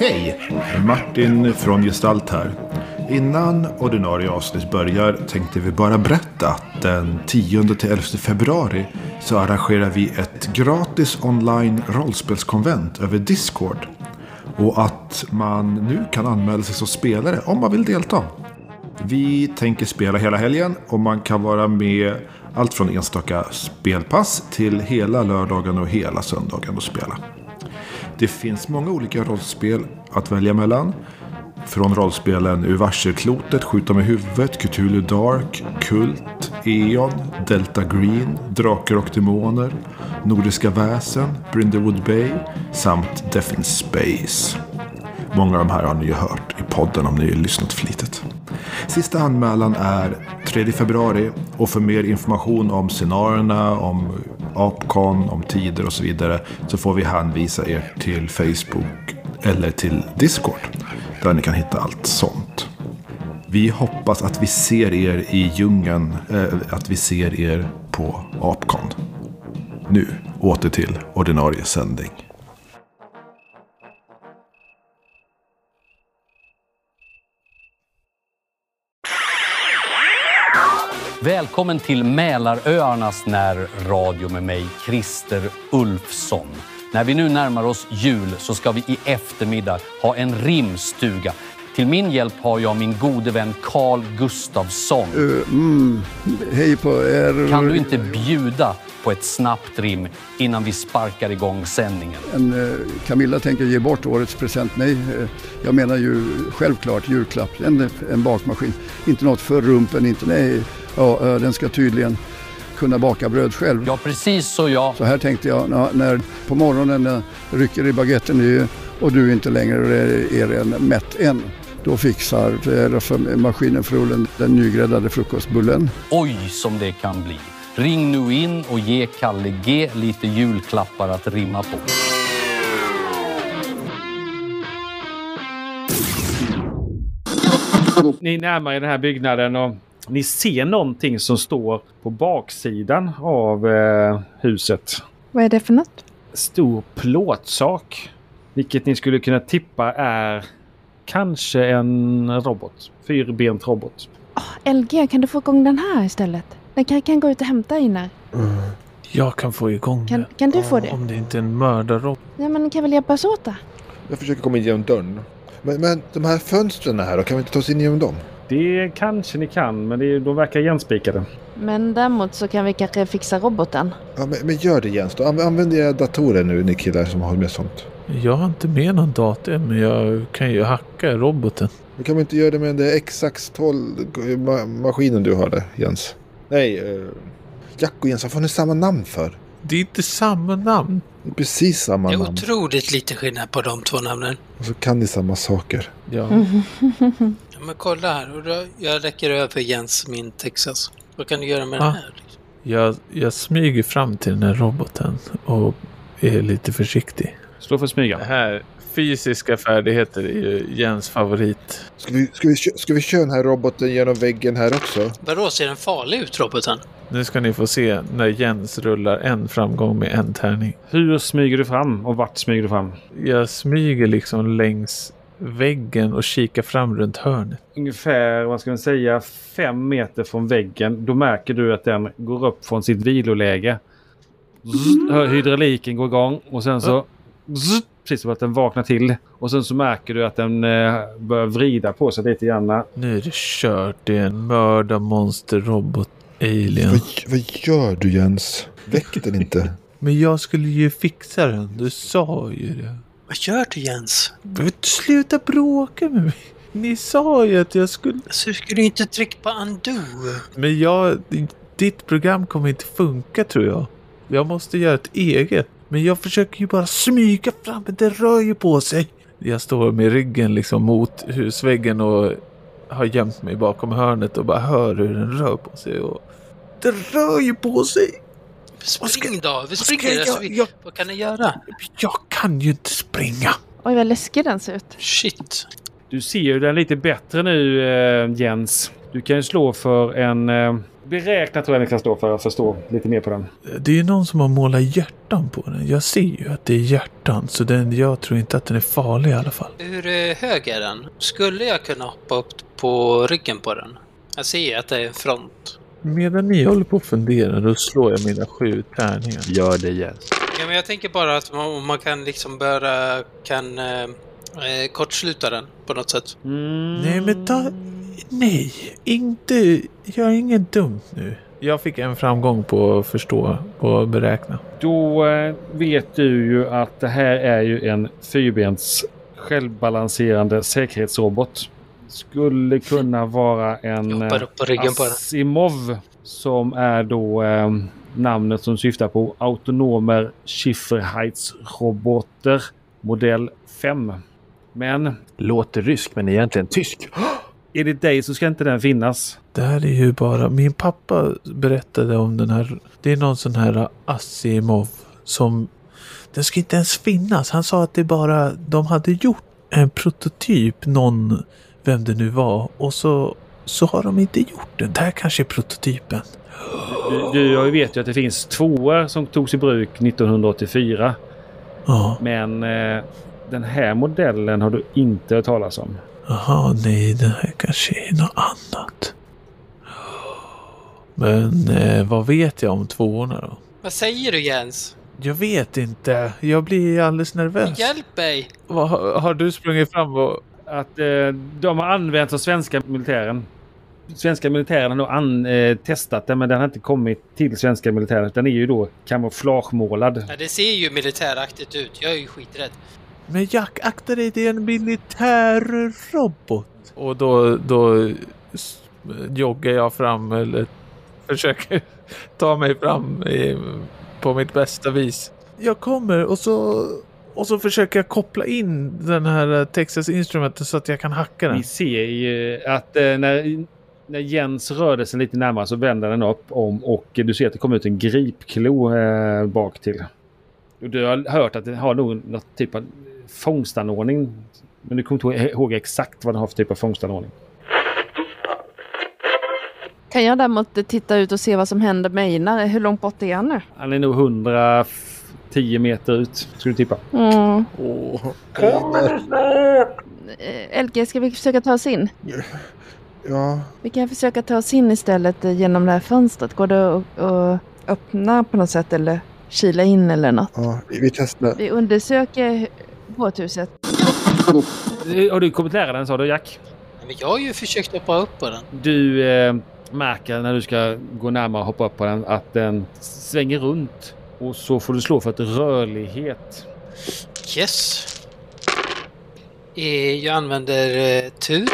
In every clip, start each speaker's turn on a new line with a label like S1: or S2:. S1: Hej! Martin från Gestalt här. Innan ordinarie avsnitt börjar tänkte vi bara berätta att den 10-11 februari så arrangerar vi ett gratis online rollspelskonvent över Discord. Och att man nu kan anmäla sig som spelare om man vill delta. Vi tänker spela hela helgen och man kan vara med allt från enstaka spelpass till hela lördagen och hela söndagen och spela. Det finns många olika rollspel att välja mellan. Från rollspelen Ur varselklotet, Skjuta med huvudet, Cthulhu Dark, Kult, Eon, Delta Green, Drakar och Demoner, Nordiska Väsen, Brindlewood Bay samt Death in Space. Många av de här har ni ju hört i podden om ni har lyssnat flitigt. Sista anmälan är 3 februari och för mer information om scenarierna, om Apcon, om tider och så vidare så får vi hänvisa er till Facebook eller till Discord där ni kan hitta allt sånt. Vi hoppas att vi ser er i djungeln, eh, att vi ser er på Apcon. Nu åter till ordinarie sändning.
S2: Välkommen till Mälaröarnas närradio med mig, Christer Ulfsson. När vi nu närmar oss jul så ska vi i eftermiddag ha en rimstuga. Till min hjälp har jag min gode vän Carl Gustafsson.
S3: Hej på er.
S2: Kan du inte bjuda på ett snabbt rim innan vi sparkar igång sändningen?
S3: Men, eh, Camilla tänker ge bort årets present. Nej, eh, jag menar ju självklart julklapp. En, en bakmaskin. Inte något för rumpen, inte nej. Ja, eh, den ska tydligen kunna baka bröd själv.
S2: Ja, precis så jag.
S3: Så här tänkte jag när, när på morgonen eh, rycker i baguetten i och du inte längre är, är en mätt än. Då fixar eh, för- maskinen frulen den nygräddade frukostbullen.
S2: Oj, som det kan bli. Ring nu in och ge Kalle G lite julklappar att rimma på.
S4: Ni närmar er den här byggnaden och ni ser någonting som står på baksidan av eh, huset.
S5: Vad är det för något?
S4: Stor plåtsak. Vilket ni skulle kunna tippa är kanske en robot. Fyrbent robot.
S5: Ah, LG, kan du få igång den här istället? Den kan, kan gå ut och hämta Einar.
S6: Jag kan få igång
S5: Kan,
S6: det.
S5: kan du få det?
S6: Om det inte är en mördarrock.
S5: Ja, men kan väl hjälpas åt då?
S7: Jag försöker komma in genom dörren. Men, men de här fönstren här då, kan vi inte ta oss in genom dem?
S4: Det kanske ni kan men det, de verkar igenspikade.
S5: Men däremot så kan vi kanske fixa roboten.
S7: Ja, men, men gör det Jens då. An- Använd era datorer nu ni killar som har med sånt.
S6: Jag har inte med någon dator men jag kan ju hacka i roboten.
S7: Men kan vi inte göra det med den där X-Ax12-maskinen du har där Jens? Nej, eh, Jack och Jens, varför har ni samma namn för?
S6: Det är inte samma namn.
S7: Det är Precis samma
S8: Det är
S7: namn.
S8: otroligt lite skillnad på de två namnen.
S7: Och så kan ni samma saker.
S6: Ja.
S5: Mhm.
S8: Ja, men kolla här. Och då, jag räcker över Jens min Texas. Vad kan du göra med
S6: Ah.
S8: den här?
S6: Jag, jag smyger fram till den här roboten och är lite försiktig.
S4: Slå för smyga.
S6: Det här fysiska färdigheter är ju Jens favorit.
S7: Ska vi, ska, vi, kö- ska vi köra den här roboten genom väggen här också?
S8: Vadå, ser den farlig ut, roboten?
S6: Nu ska ni få se när Jens rullar en framgång med en tärning.
S4: Hur smyger du fram och vart smyger du fram?
S6: Jag smyger liksom längs väggen och kikar fram runt hörnet.
S4: ungefär, vad ska man säga, fem meter från väggen. Då märker du att den går upp från sitt viloläge. Zzz,
S6: Mm.
S4: hör hydrauliken gå igång och sen så... Zzz, precis som att den vaknar till. Och sen så märker du att den eh, börjar vrida på sig lite grann.
S6: Nu är det kört. Det är en mördarmonsterrobot-alien.
S7: Vad, vad gör du Jens? Väck den inte.
S6: Men jag skulle ju fixa den. Du sa ju det.
S8: Vad gör du, Jens?
S6: Men Sluta bråka med mig. Ni sa ju att jag skulle...
S8: Alltså, ska du inte trycka på undo?
S6: Men jag... Ditt program kommer inte funka tror jag. Jag måste göra ett eget. Men jag försöker ju bara smyga fram, men det rör ju på sig. Jag står med ryggen liksom mot husväggen och har gömt mig bakom hörnet och bara hör hur den rör på sig. Och... Det rör ju på sig! Vad ska-
S8: Spring då! Vi
S6: vad
S8: springer!
S6: ska jag-
S8: alltså, vi,
S6: jag-
S8: Vad kan ni göra?
S6: Jag kan ju inte springa!
S5: Oj, vad läskig den ser ut.
S8: Shit.
S4: Du ser ju den lite bättre nu eh, Jens. Du kan ju slå för en eh, Beräkna tror jag ni kan stå för att förstå lite mer på den.
S6: Det är ju någon som har målat hjärtan på den. Jag ser ju att det är hjärtan, så den, jag tror inte att den är farlig i alla fall.
S8: Hur eh, hög är den? Skulle jag kunna hoppa upp på ryggen på den? Jag ser ju att det är en front.
S6: Medan ni håller på och funderar, då slår jag mina sju tärningar.
S9: Gör det igen.
S8: Ja, men jag tänker bara att man, om man kan liksom börja... Kan eh, eh, kortsluta den på något sätt.
S6: Nej, men ta... Nej, inte... Gör inget dumt nu. Jag fick en framgång på att förstå och beräkna.
S4: Då eh, vet du ju att det här är ju en fyrbens självbalanserande säkerhetsrobot. Skulle kunna vara en
S8: Jag hoppar upp på ryggen på den.
S4: Asimov som är då eh, namnet som syftar på autonomer Schifferheitsroboter modell 5. Men
S9: Låter rysk men egentligen tysk.
S4: enligt dig så ska inte den finnas.
S6: Det här är ju bara... Min pappa berättade om den här... Det är någon sån här Asimov som... Den ska inte ens finnas. Han sa att det bara... De hade gjort en prototyp, någon... Vem det nu var. Och så, så har de inte gjort den. Det här kanske är prototypen.
S4: Du, du jag vet ju att det finns tvåor som togs i bruk 1984.
S6: Ja.
S4: Men eh, den här modellen har du inte hört talas om.
S6: Jaha, nej, det här kanske är något annat. Men eh, vad vet jag om tvåorna då?
S8: Vad säger du Jens?
S6: Jag vet inte. Jag blir alldeles nervös.
S8: Hjälp mig!
S6: Vad, har- har du sprungit fram och...
S4: Att eh, de har använts av svenska militären. Svenska militären har då an, eh, testat den men den har inte kommit till svenska militären. Den är ju då kamouflagemålad.
S8: Ja, det ser ju militäraktigt ut. Jag är ju skiträdd.
S6: Men Jack, akta dig, det är en militärrobot. Och då, då s- joggar jag fram eller försöker ta mig fram eh, på mitt bästa vis. Jag kommer och så, och så försöker jag koppla in den här eh, Texas Instrumenten så att jag kan hacka den.
S4: Ni ser ju att eh, när, när Jens rörde sig lite närmare så vände den upp om och du ser att det kommer ut en gripklo eh, bak till. Och Du har hört att den har nog något typ av fångstanordning. Men du kommer inte ihåg exakt vad den har för typ av fångstanordning.
S5: Kan jag däremot titta ut och se vad som händer med Einar? Hur långt bort är han nu?
S4: Han är nog 110 meter ut, skulle du tippa.
S5: Mm.
S7: Åh, Einar.
S5: Eh, LG, ska vi försöka ta oss in?
S7: Ja,
S5: Vi kan försöka ta oss in istället eh, genom det här fönstret. Går det att att öppna på något sätt eller kila in eller något?
S7: ja, vi vi testar.
S5: Vi undersöker båthuset.
S4: Eh, Har du kommit nära den sa du Jack?
S8: Nej, Men jag har ju försökt hoppa upp på den.
S4: Du eh, märker när du ska gå närmare och hoppa upp på den att den svänger runt. Och så får du slå för ett rörlighet.
S8: Yes! Eh, Jag använder eh, tur.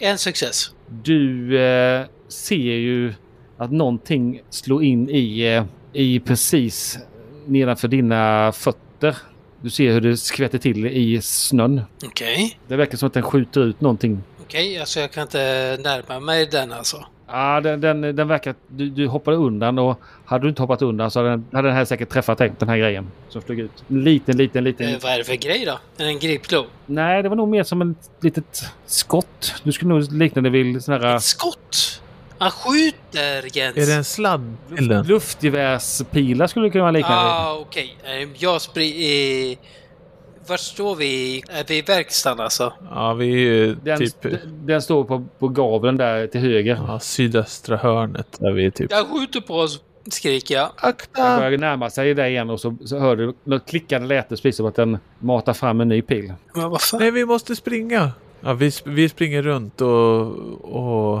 S8: En success.
S4: Du eh, ser ju att någonting slår in i, eh, i precis nedanför dina fötter. Du ser hur det skvätter till i snön.
S8: Okej.
S4: Det verkar som att den skjuter ut någonting.
S8: Okej, alltså jag kan inte närma mig den alltså.
S4: Ja, den, den, den verkar... Du, du hoppade undan och hade du inte hoppat undan så hade den, hade den här säkert träffat dig, den här grejen som flög ut. En Liten, liten, liten.
S6: Mm.
S8: Eh, vad är det för grej då? Är det en gripklo?
S4: Nej, det var nog mer som ett litet skott. Du skulle nog likna det vid sån här
S8: Ett skott! Han skjuter Jens!
S6: Är det en sladd till den?
S4: luftgevärspilar skulle det kunna likna det vid.
S8: ah, okej. Eh, Jag springer... Eh, var står vi? Är vi i verkstaden alltså?
S6: Ja, vi är ju
S4: Den,
S6: typ
S4: d- den står på, på gaveln där till höger.
S6: ja, sydöstra hörnet där vi är typ.
S8: Jag skjuter på oss! Skriker jag. Ah.
S4: Den
S6: Akta!
S4: börjar närma sig dig igen och så, så hör du något klickande läte precis som att den matar fram en ny pil.
S8: Men vad fan?
S6: Nej, vi måste springa. Ja, vi, sp- vi springer runt och... och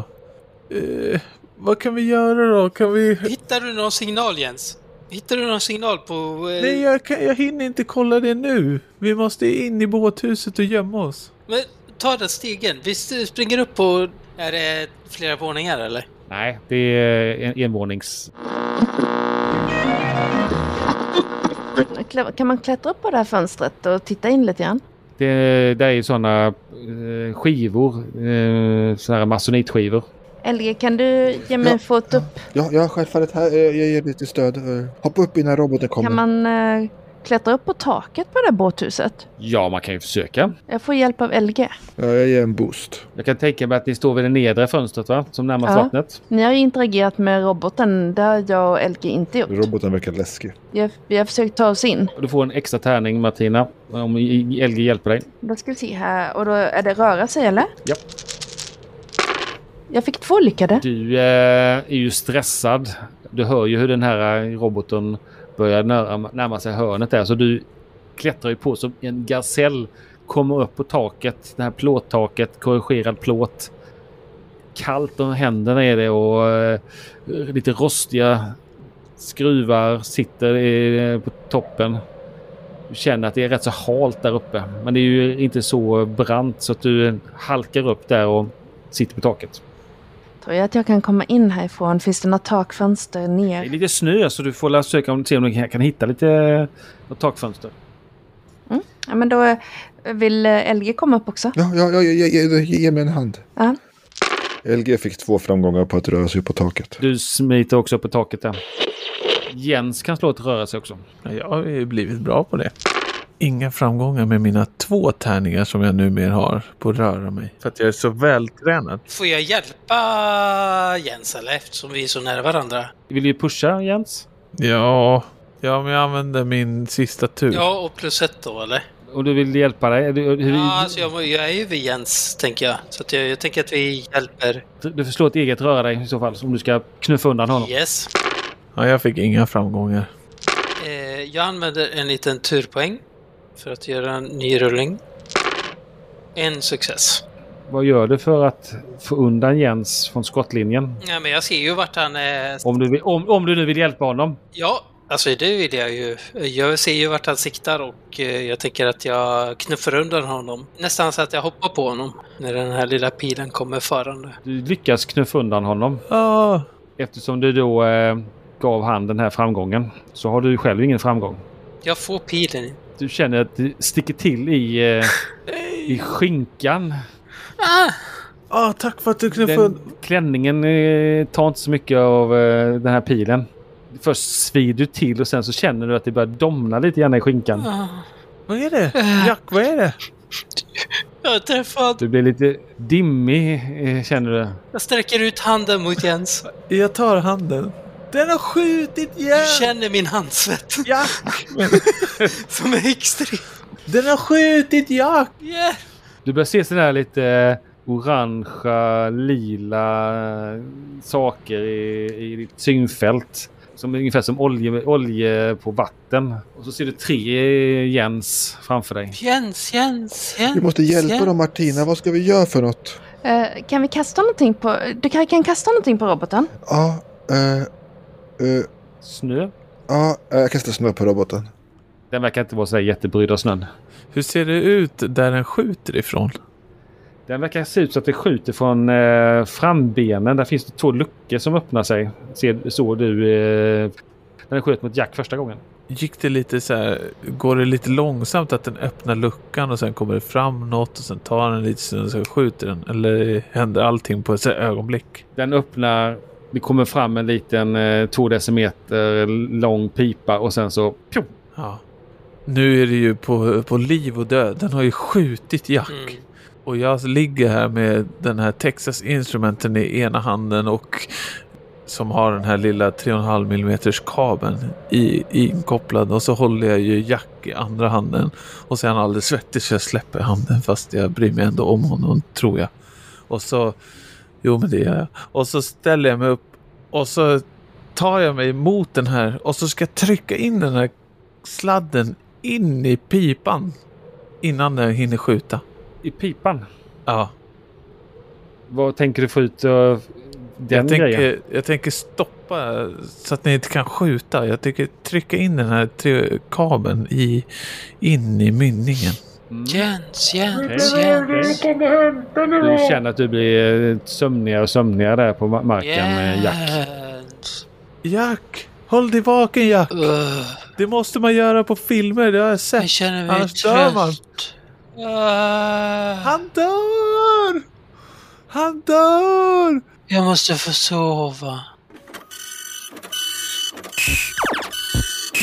S6: eh, vad kan vi göra då? Kan vi...
S8: Hittar du någon signal Jens? Hittar du någon signal på... Eh,
S6: Nej, jag, kan, jag hinner inte kolla det nu. Vi måste in i båthuset och gömma oss.
S8: Men ta den stegen. Vi s- springer upp på... Är det flera våningar eller?
S4: Nej, det är en envånings...
S5: Klä- Kan man klättra upp på det här fönstret och titta in lite grann?
S4: Det, det är ju sådana eh, skivor. Eh, sådana här masonitskivor.
S5: LG, kan du ge mig
S7: Ja.
S5: en fot upp?
S7: Ja, jag har självfallet här. Eh, Jag ger lite stöd. Eh, Hoppa upp innan roboten kommer.
S5: Kan man eh, klättra upp på taket på det här båthuset?
S4: Ja, man kan ju försöka.
S5: Jag får hjälp av LG.
S7: Ja, jag ger en boost.
S4: Jag kan tänka mig att ni står vid det nedre fönstret va? Som närmast
S5: Ja.
S4: vattnet.
S5: Ni har ju interagerat med roboten. Det har jag och LG inte gjort.
S7: Roboten verkar läskig.
S5: Vi har, vi har försökt ta oss in.
S4: Du får en extra tärning Martina. Om LG hjälper dig.
S5: Då ska vi se här. Och då är det röra sig eller?
S4: Ja.
S5: Jag fick två lyckade.
S4: Du eh, är ju stressad. Du hör ju hur den här eh, roboten börjar närma, närma sig hörnet där. Så du klättrar ju på som en gasell. Kommer upp på taket. Det här plåttaket. Korrigerad plåt. Kallt om händerna är det och eh, lite rostiga skruvar sitter i, eh, på toppen. Du känner att det är rätt så halt där uppe. Men det är ju inte så brant så att du halkar upp där och sitter på taket.
S5: Tror jag att jag kan komma in härifrån? Finns det några takfönster
S4: Det är
S5: ner?
S4: lite snö så du får la söka om, se om du kan, kan hitta lite något takfönster.
S5: Ja, men då eh, vill eh, LG komma upp också.
S7: Ja, ja, ja, ja, ja, ja, ge mig en hand.
S5: Ja.
S7: LG fick två framgångar på att röra sig upp på taket.
S4: Du smiter också upp på taket där. Jens kan slå ett röra sig också.
S6: Jag har ju blivit bra på det. Inga framgångar med mina två tärningar som jag numera har på att röra mig. För att jag är så vältränad.
S8: Får jag hjälpa Jens eller? Eftersom vi är så nära varandra.
S4: Vill du pusha Jens?
S6: Ja, ja men jag använder min sista tur.
S8: Ja, och plus ett då eller?
S4: Om du vill hjälpa dig? Du, hur,
S8: Ja, alltså jag, jag är ju vid Jens, tänker jag. Så att jag, jag tänker att vi hjälper.
S4: du får slå ett eget röra dig i så fall, om du ska knuffa undan honom.
S8: Yes.
S6: Ja, jag fick inga framgångar.
S8: Eh, jag använder en liten turpoäng för att göra en ny rullning. En success.
S4: Vad gör du för att få undan Jens från skottlinjen?
S8: Ja, men jag ser ju vart han eh, är.
S4: Om du, vill, om, om du nu vill hjälpa honom.
S8: Ja, alltså det vill jag ju. Jag ser ju vart han siktar och eh, jag tänker att jag knuffar undan honom. Nästan så att jag hoppar på honom när den här lilla pilen kommer farande.
S4: Du lyckas knuffa undan honom.
S6: Ah,
S4: Eftersom du då eh, gav han den här framgången så har du själv ingen framgång.
S8: Jag får pilen.
S4: Du känner att det sticker till i, eh, i skinkan.
S8: Ah!
S6: ah, tack för att du knuffade
S4: Den, klänningen eh, tar inte så mycket av eh, den här pilen. Först svider du till och sen så känner du att det börjar domna lite grann i skinkan.
S8: Ah.
S6: Vad är det? Jack, vad är det?
S8: Jag är träffad.
S4: Du blir lite dimmig eh, känner du.
S8: Jag sträcker ut handen mot Jens.
S6: Jag tar handen. Den har skjutit
S8: Du
S6: igen!
S8: känner min handsvett
S6: Jack!
S8: som är extrem.
S6: Den har skjutit Jack!
S8: Yeah.
S4: Du börjar se sådana här lite eh, orangea, lila eh, saker i, i ditt synfält. Som, ungefär som olje, olje på vatten. Och så ser du tre eh, Jens framför dig.
S8: Jens, Jens, Jens.
S7: Vi måste hjälpa dem Martina, vad ska vi göra för något?
S5: Eh, kan vi kasta någonting på... Du kan, kan kasta någonting på roboten?
S7: Ja, eh, eh,
S4: Snö.
S7: ja, eh, jag kastar snö på roboten.
S4: Den verkar inte vara så där jättebrydd av snön.
S6: Hur ser det ut där den skjuter ifrån?
S4: Den verkar se ut så att det skjuter från eh, frambenen. Där finns det två luckor som öppnar sig. Ser, såg du eh, när den sköt mot Jack första gången?
S6: Gick det lite så här, går det lite långsamt att den öppnar luckan och sen kommer det fram något och sen tar den lite stund och sen skjuter den? Eller händer allting på ett så här ögonblick?
S4: Den öppnar. Det kommer fram en liten eh, två decimeter lång pipa och sen så... Pju,
S6: Ja. Nu är det ju på, på liv och död. Den har ju skjutit Jack.
S8: Mm.
S6: Och jag ligger här med den här Texas Instrumenten i ena handen och som har den här lilla 3,5 mm kabeln i, inkopplad och så håller jag ju Jack i andra handen och så är han alldeles svettig så jag släpper handen fast jag bryr mig ändå om honom tror jag. Och så, jo men det gör jag. Och så ställer jag mig upp och så tar jag mig mot den här och så ska jag trycka in den här sladden in i pipan innan den hinner skjuta.
S4: I pipan.
S6: Ja.
S4: Vad tänker du få ut av den
S6: jag,
S4: grejen?
S6: tänker, jag tänker stoppa så att ni inte kan skjuta. Jag tänker trycka in den här tre- kabeln i, in i mynningen.
S8: Jens, Jens,
S4: Okej.
S8: Jens.
S4: Du känner att du blir eh, sömnigare och sömnigare där på ma- marken, eh, Jack.
S8: Jens.
S6: Jack! Håll dig vaken Jack!
S8: Öh,
S6: Det måste man göra på filmer, det har jag
S8: jag
S6: sett.
S8: känner mig
S6: Annars dör man.
S8: trött. Öh,
S6: Han dör! Han dör!
S8: jag måste få sova.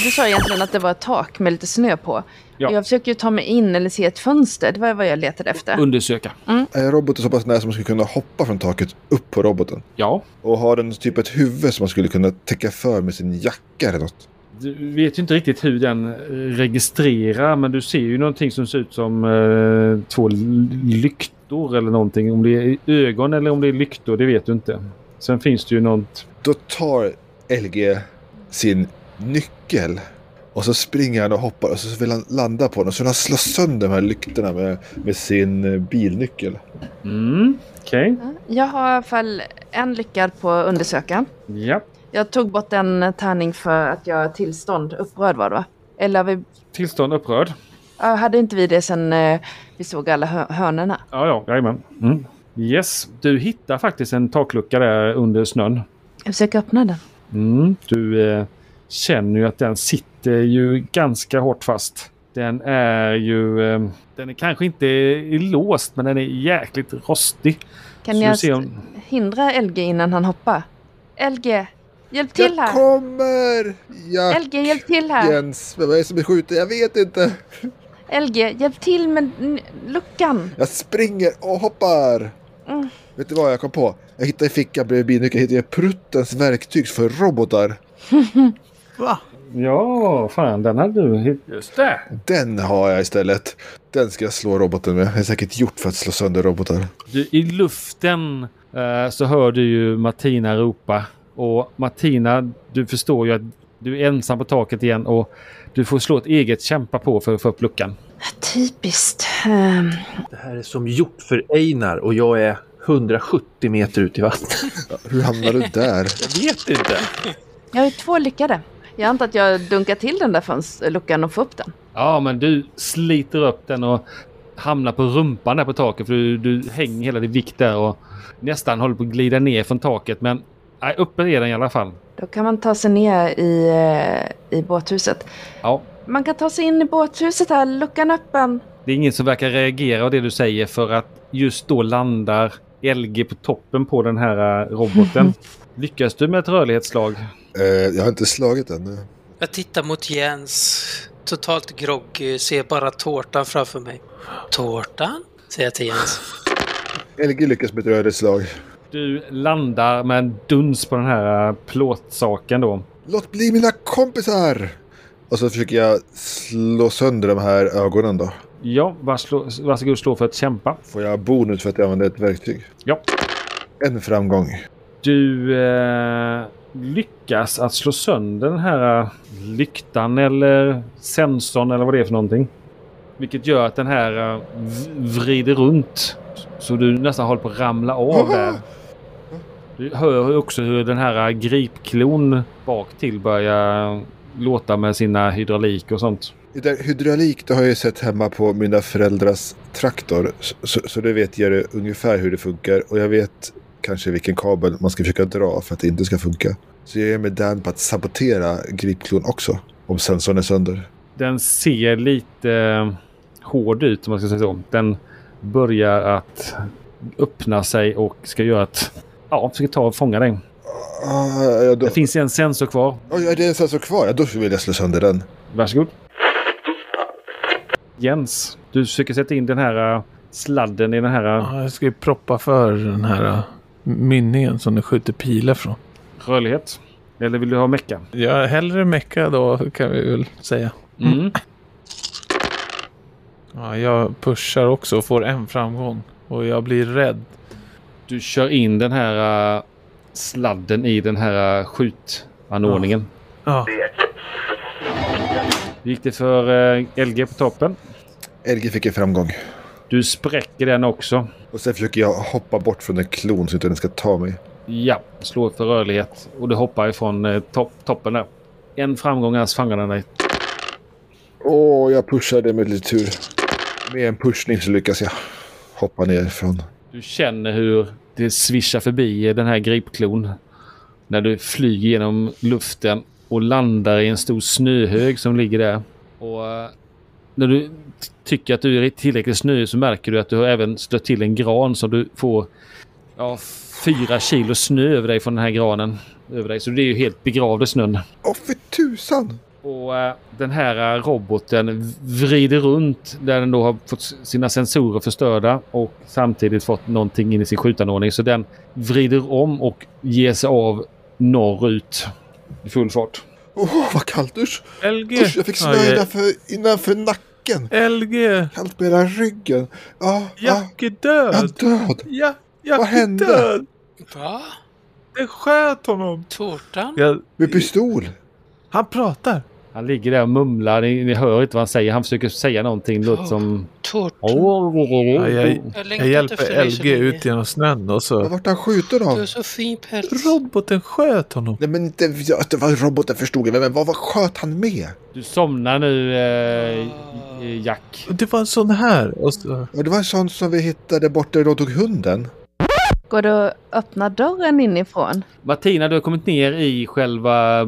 S5: du sa egentligen att det var ett tak med lite snö på.
S4: Ja.
S5: Jag försöker ju ta mig in eller se ett fönster. Det var vad jag letade efter.
S4: Undersöka.
S7: Är roboten så pass nära som man skulle kunna hoppa från taket upp på roboten?
S4: Ja.
S7: Och har den typ ett huvud som man skulle kunna täcka för med sin jacka eller något?
S4: Du vet ju inte riktigt hur den eh, registrerar men du ser ju någonting som ser ut som eh, två l- lyktor eller någonting. Om det är ögon eller om det är lyktor, det vet du inte. Sen finns det ju något...
S7: Då tar LG sin nyckel och så springer han och hoppar och så vill han landa på den och så vill han slå sönder de här lyktorna med, med sin eh, bilnyckel.
S4: Mm, okej.
S5: Jag har i alla fall en lyckad på att undersöka.
S4: Ja.
S5: Jag tog bort en tärning för att jag har tillstånd. Upprörd var det va? Eller vi,
S4: Tillstånd upprörd.
S5: ja, hade inte vi det sen eh, vi såg alla hö- hörnorna?
S4: Ja, ja, jajamän. Mm. Yes, du hittar faktiskt en taklucka där under snön.
S5: Jag försöker öppna den.
S4: Mm. Du eh, känner ju att den sitter ju ganska hårt fast. Den är ju... Eh, den är kanske inte låst, men den är jäkligt rostig.
S5: Kan
S4: Så du
S5: jag
S4: ser
S5: st-
S4: om-
S5: hindra LG innan han hoppar? LG, hjälp till
S7: jag
S5: här!
S7: kommer! Jack,
S5: LG, hjälp till här!
S7: Jens, vem är det som är skjuten? Jag vet inte.
S5: LG, hjälp till med n- luckan!
S7: Jag springer och hoppar!
S5: Mm.
S7: Vet du vad jag kom på? Jag hittade i fickan bredvid bilnyckeln, hittade jag Pruttens verktyg för robotar.
S6: Va?
S4: Ja, fan den hade du hittat. Just det.
S7: Den har jag istället. Den ska jag slå roboten med. Jag är säkert gjort för att slå sönder robotar.
S4: Du, I luften eh, så hör du ju Martina ropa. Och Martina, du förstår ju att du är ensam på taket igen och du får slå ett eget kämpa på för att få upp luckan.
S5: Typiskt. Ehm,
S9: Det här är som gjort för Einar och jag är 170 meter ut i vattnet.
S7: Hur hamnade du där?
S9: Jag vet inte.
S5: Jag har ju två lyckade. Jag antar att jag dunkar till den där fönst- luckan och får upp den.
S4: Ja, men du sliter upp den och hamnar på rumpan där på taket för du, du hänger hela din vikt där och nästan håller på att glida ner från taket. Men nej, uppe är den i alla fall.
S5: Då kan man ta sig ner i, eh, i båthuset.
S4: Ja,
S5: Man kan ta sig in i båthuset här, luckan öppen.
S4: Det är ingen som verkar reagera av det du säger för att just då landar LG på toppen på den här eh, roboten. Lyckas du med ett rörlighetsslag?
S7: Eh, jag har inte slagit ännu.
S8: Jag tittar mot Jens, totalt groggy, ser bara tårtan framför mig. Tårtan? Säger jag till Jens.
S7: LG lyckas med ett rörligt slag.
S4: Du landar med en duns på den här eh, plåtsaken då.
S7: Låt bli mina kompisar! Och så försöker jag slå sönder de här ögonen då.
S4: Ja, varslå, varsågod slå för att kämpa.
S7: Får jag bonus för att jag använder ett verktyg?
S4: Ja.
S7: En framgång.
S4: Du eh, lyckas att slå sönder den här eh, lyktan eller sensorn eller vad det är för någonting. Vilket gör att den här eh, v- vrider runt. Så du nästan håller på att ramla av där. Du hör ju också hur den här eh, gripklon bak till börjar eh, låta med sina hydraulik och sånt.
S7: Det där hydraulik det har jag ju sett hemma på mina föräldrars traktor. Så, så, så det vet jag ju ungefär hur det funkar. Och jag vet kanske vilken kabel man ska försöka dra för att det inte ska funka. Så jag är med Dan på att sabotera gripklon också. Om sensorn är sönder.
S4: Den ser lite eh, hård ut om man ska säga så. Den börjar att öppna sig och ska göra att... Ja, ska ta och fånga dig.
S7: Ah, ja, då,
S4: Det finns en sensor kvar.
S7: Oj, är det en sensor kvar? Ja, då vill jag slå sönder den.
S4: Varsågod. Jens, du försöker sätta in den här äh, sladden i den här äh,
S6: Ja, jag ska ju proppa för den här äh, mynningen som du skjuter pilar från.
S4: rörlighet. Eller vill du ha mecka?
S6: Jag är hellre mecka då kan vi väl säga.
S4: Mm.
S6: Ja, jag pushar också och får en framgång. Och jag blir rädd.
S4: Du kör in den här äh, sladden i den här äh, skjutanordningen.
S6: Ja,
S4: Hur gick det för äh, LG på toppen?
S7: LG fick en framgång.
S4: Du spräcker den också.
S7: Och sen försöker jag hoppa bort från en klon så inte den ska ta mig.
S4: Ja, slå för rörlighet. Och du hoppar ifrån äh, topp, toppen där. En framgång annars fångar den dig.
S7: Åh, jag pushade med lite tur. Med en pushning så lyckas jag hoppa ner från...
S4: Du känner hur det svischar förbi den här gripklon. När du flyger genom luften och landar i en stor snöhög som ligger där. Och eh, när du t- tycker att du är tillräckligt snö så märker du att du har även stött till en gran som du får ja, fyra kilo snö över dig från den här granen. Över dig. Så det är ju helt begravd i snön.
S7: Åh, för tusan!
S4: Och eh, den här eh, roboten vrider runt där den då har fått s- sina sensorer förstörda och samtidigt fått någonting in i sin skjutanordning. Så den vrider om och ger sig av norrut i full fart.
S7: Åh, vad kallt! Usch!
S6: LG!
S7: Usch, jag fick snö
S6: Ja,
S7: innanför, innanför nacken!
S6: LG!
S7: Kallt på hela ryggen! Ja, ja.
S6: Jack är
S7: Jag är
S6: död!
S7: död!
S6: Ja, Jack
S7: Vad
S6: är
S7: hände?
S6: död!
S8: Va?
S6: Den sköt honom!
S8: Tårtan?
S6: Jag,
S7: Med pistol!
S6: han pratar!
S4: Han ligger där och mumlar. Ni, ni hör inte vad han säger. Han försöker säga någonting. Det låter som...
S8: Tårtan?
S6: Ja, jag,
S8: Jag
S6: jag
S8: längtat efter
S6: hjälper
S8: dig så
S6: LG
S8: länge.
S6: ut genom snön och
S7: Ja.
S6: så...
S7: Vart har han skjutit
S8: Du har
S7: av?
S8: så fin päls.
S6: Roboten sköt honom!
S7: Nej men inte... ja, Det var roboten förstod jag, men vad, vad sköt han med?
S4: Du somnar nu, eh, Jack.
S6: Och Det var en sån här! Och så,
S7: Ja, det var en sån som vi hittade borta där de tog hunden.
S5: Går det att öppna dörren inifrån?
S4: Martina, du har kommit ner i själva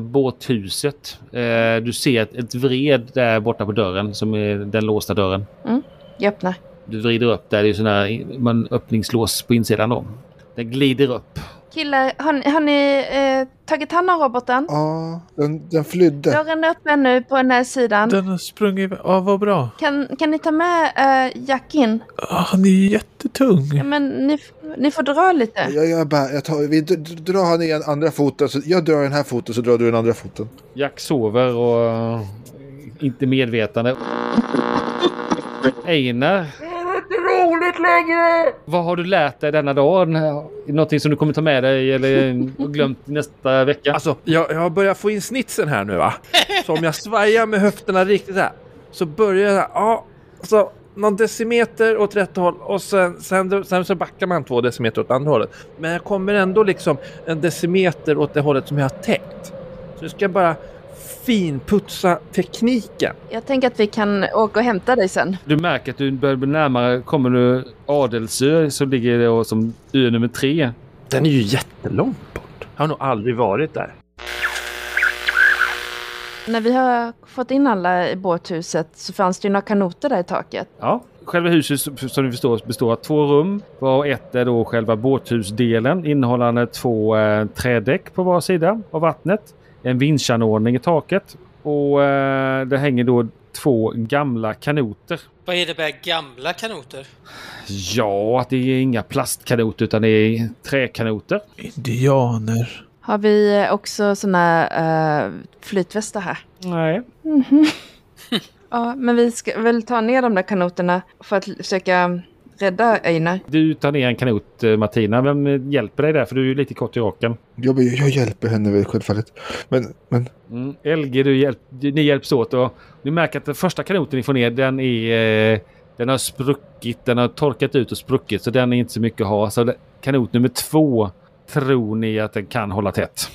S4: båthuset. Eh, du ser ett, ett vred där borta på dörren, som är den låsta dörren.
S5: Jag öppnar.
S4: Du vrider upp där. Det är sån här man öppningslås på insidan då. Den glider upp.
S5: Killar, har ni, har ni eh, tagit hand om roboten?
S7: Ja, den, den flydde.
S5: Dörren är öppen nu på den här sidan.
S6: den har sprungit iväg. Ja, vad bra.
S5: Kan, kan ni ta med eh, Jack in?
S6: Ah, han är ju jättetung.
S5: Ja, men ni, f- ni får dra lite.
S7: Jag, jag, bara, jag tar, vi d- d- drar han i den andra foten, så jag drar den här foten så drar du den andra foten.
S4: Jack sover och eh, inte medvetande. Einar,
S5: Roligt längre!
S4: vad har du lärt dig denna dag? Den här- Någonting som du kommer ta med dig eller har glömt nästa vecka?
S9: Alltså, jag, jag börjar få in snitsen här nu va. Så om jag svajar med höfterna riktigt här så börjar jag, ja, alltså någon decimeter åt rätt håll och sen, sen, sen så backar man två decimeter åt andra hållet. Men jag kommer ändå liksom en decimeter åt det hållet som jag har tänkt. Så nu ska jag bara finputsa tekniken.
S5: Jag tänker att vi kan åka och hämta dig sen.
S4: Du märker att du börjar bli närmare. Kommer du Adelsö som ligger då som ö nummer tre.
S9: Den är ju jättelångt bort. Jag har nog aldrig varit där.
S5: När vi har fått in alla i båthuset så fanns det ju några kanoter där i taket.
S4: Ja, själva huset som du förstår består av två rum. Var ett är då själva båthusdelen innehållande två eh, trädäck på var sida av vattnet. En vinschanordning i taket och eh, det hänger då två gamla kanoter.
S8: Vad innebär gamla kanoter?
S4: Ja, att det är inga plastkanoter utan det är träkanoter.
S6: Indianer.
S5: Har vi eh, också såna eh, flytvästar här?
S4: Nej.
S5: Mhm. ja, men vi ska väl ta ner de där kanoterna för att försöka rädda Einar.
S4: Du tar ner en kanot eh, Martina. Vem hjälper dig där? För du är ju lite kort i raken.
S7: Jag, jag, jag hjälper henne väl självfallet. Men, men
S4: Mm. LG, du hjälp, du- ni hjälps åt och ni märker att den första kanoten ni får ner den är... eh, Den har spruckit, den har torkat ut och spruckit så den är inte så mycket att ha. Så det- kanot nummer två tror ni att den kan hålla tätt.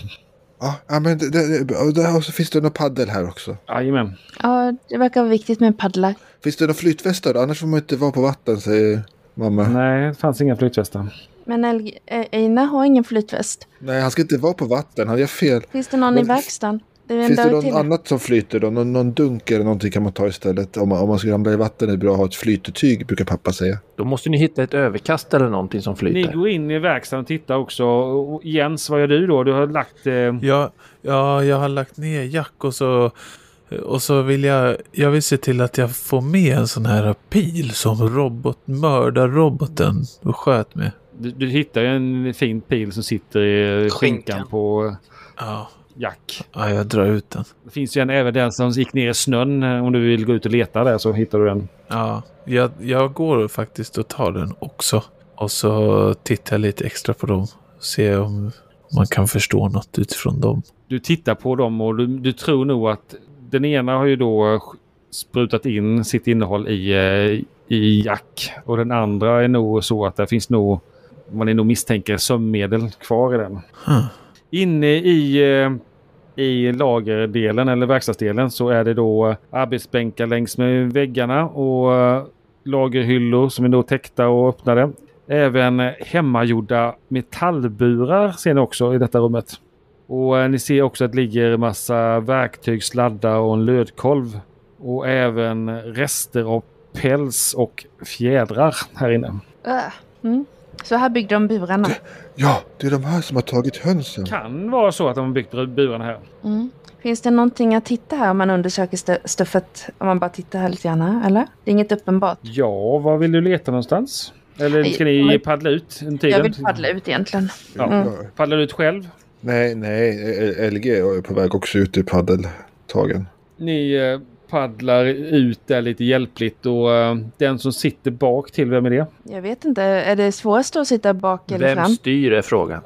S7: ja, ja, men det, det, det, och där- och så finns det någon paddel här också.
S4: Jajamän.
S5: Ja, det verkar vara viktigt med paddlar.
S7: Finns det någon flytvästar? Annars får man inte vara på vatten, säger mamma. Nej,
S4: Nej, det fanns inga flytvästar.
S5: Men El- eh, Einar har ingen flytväst.
S7: han ska inte vara på vatten. Han gör fel.
S5: Finns det någon
S7: Men-
S5: i verkstaden? Det är en
S7: Finns det
S5: dörr
S7: någon
S5: till.
S7: annat som flyter då? Någon, någon dunk eller någonting kan man ta istället. Om man, om man ska ramla i vatten är det bra att ha ett flytetyg, brukar pappa säga.
S9: Då måste ni hitta ett överkast eller någonting som
S4: Ni
S9: flyter.
S4: går in i verkstaden och tittar också. Och Jens, vad gör du då? Du har lagt... Eh,
S6: Ja, ja, jag har lagt ner Jack och så, och så vill jag, jag vill se till att jag får med en sån här pil som robot, mördarroboten och sköt med.
S4: du, du hittar ju en fin pil som sitter i eh, skinkan,
S8: Skinkan.
S4: på eh,
S6: Ja,
S4: Jack.
S6: ja, jag drar ut den.
S4: Det finns ju en även den som gick ner i snön. eh, Om du vill gå ut och leta där så hittar du den.
S6: Ja, jag, jag går faktiskt och tar den också. Och så tittar jag lite extra på dem. Se om man kan förstå något utifrån dem.
S4: du tittar på dem och du, du tror nog att den ena har ju då sprutat in sitt innehåll i, eh, i Jack. Och den andra är nog så att det finns nog, man är nog misstänker, sömnmedel kvar i den.
S6: Huh.
S4: Inne i, eh, i lagerdelen eller verkstadsdelen så är det då arbetsbänkar längs med väggarna och eh, lagerhyllor som är då täckta och öppnade. Även eh, hemmagjorda metallburar ser ni också i detta rummet. Och eh, ni ser också att det ligger massa verktyg, sladdar och en lödkolv. Och även rester av päls och fjädrar här inne.
S5: Äh, Mm. Så här byggde de burarna.
S7: Ja, det är de här som har tagit hönsen.
S4: Kan vara så att de har byggt burarna här.
S5: Mm. Finns det någonting att titta här om man undersöker st- stuffet? Om man bara tittar här lite grann, här, eller? Det är inget uppenbart.
S4: Ja, var vill du leta någonstans? Eller ska ni
S5: Jag-
S4: paddla ut en tiden?
S5: Jag vill paddla ut Mm. egentligen.
S4: Ja. Paddlar du ut själv?
S7: Nej, nej. L- LG är på väg också ut i paddeltagen.
S4: Ni eh, paddlar ut där lite hjälpligt och eh, den som sitter bak till, vem är det?
S5: Jag vet inte, är det svårast att sitta bak eller
S9: Vem
S5: fram?
S9: styr är frågan.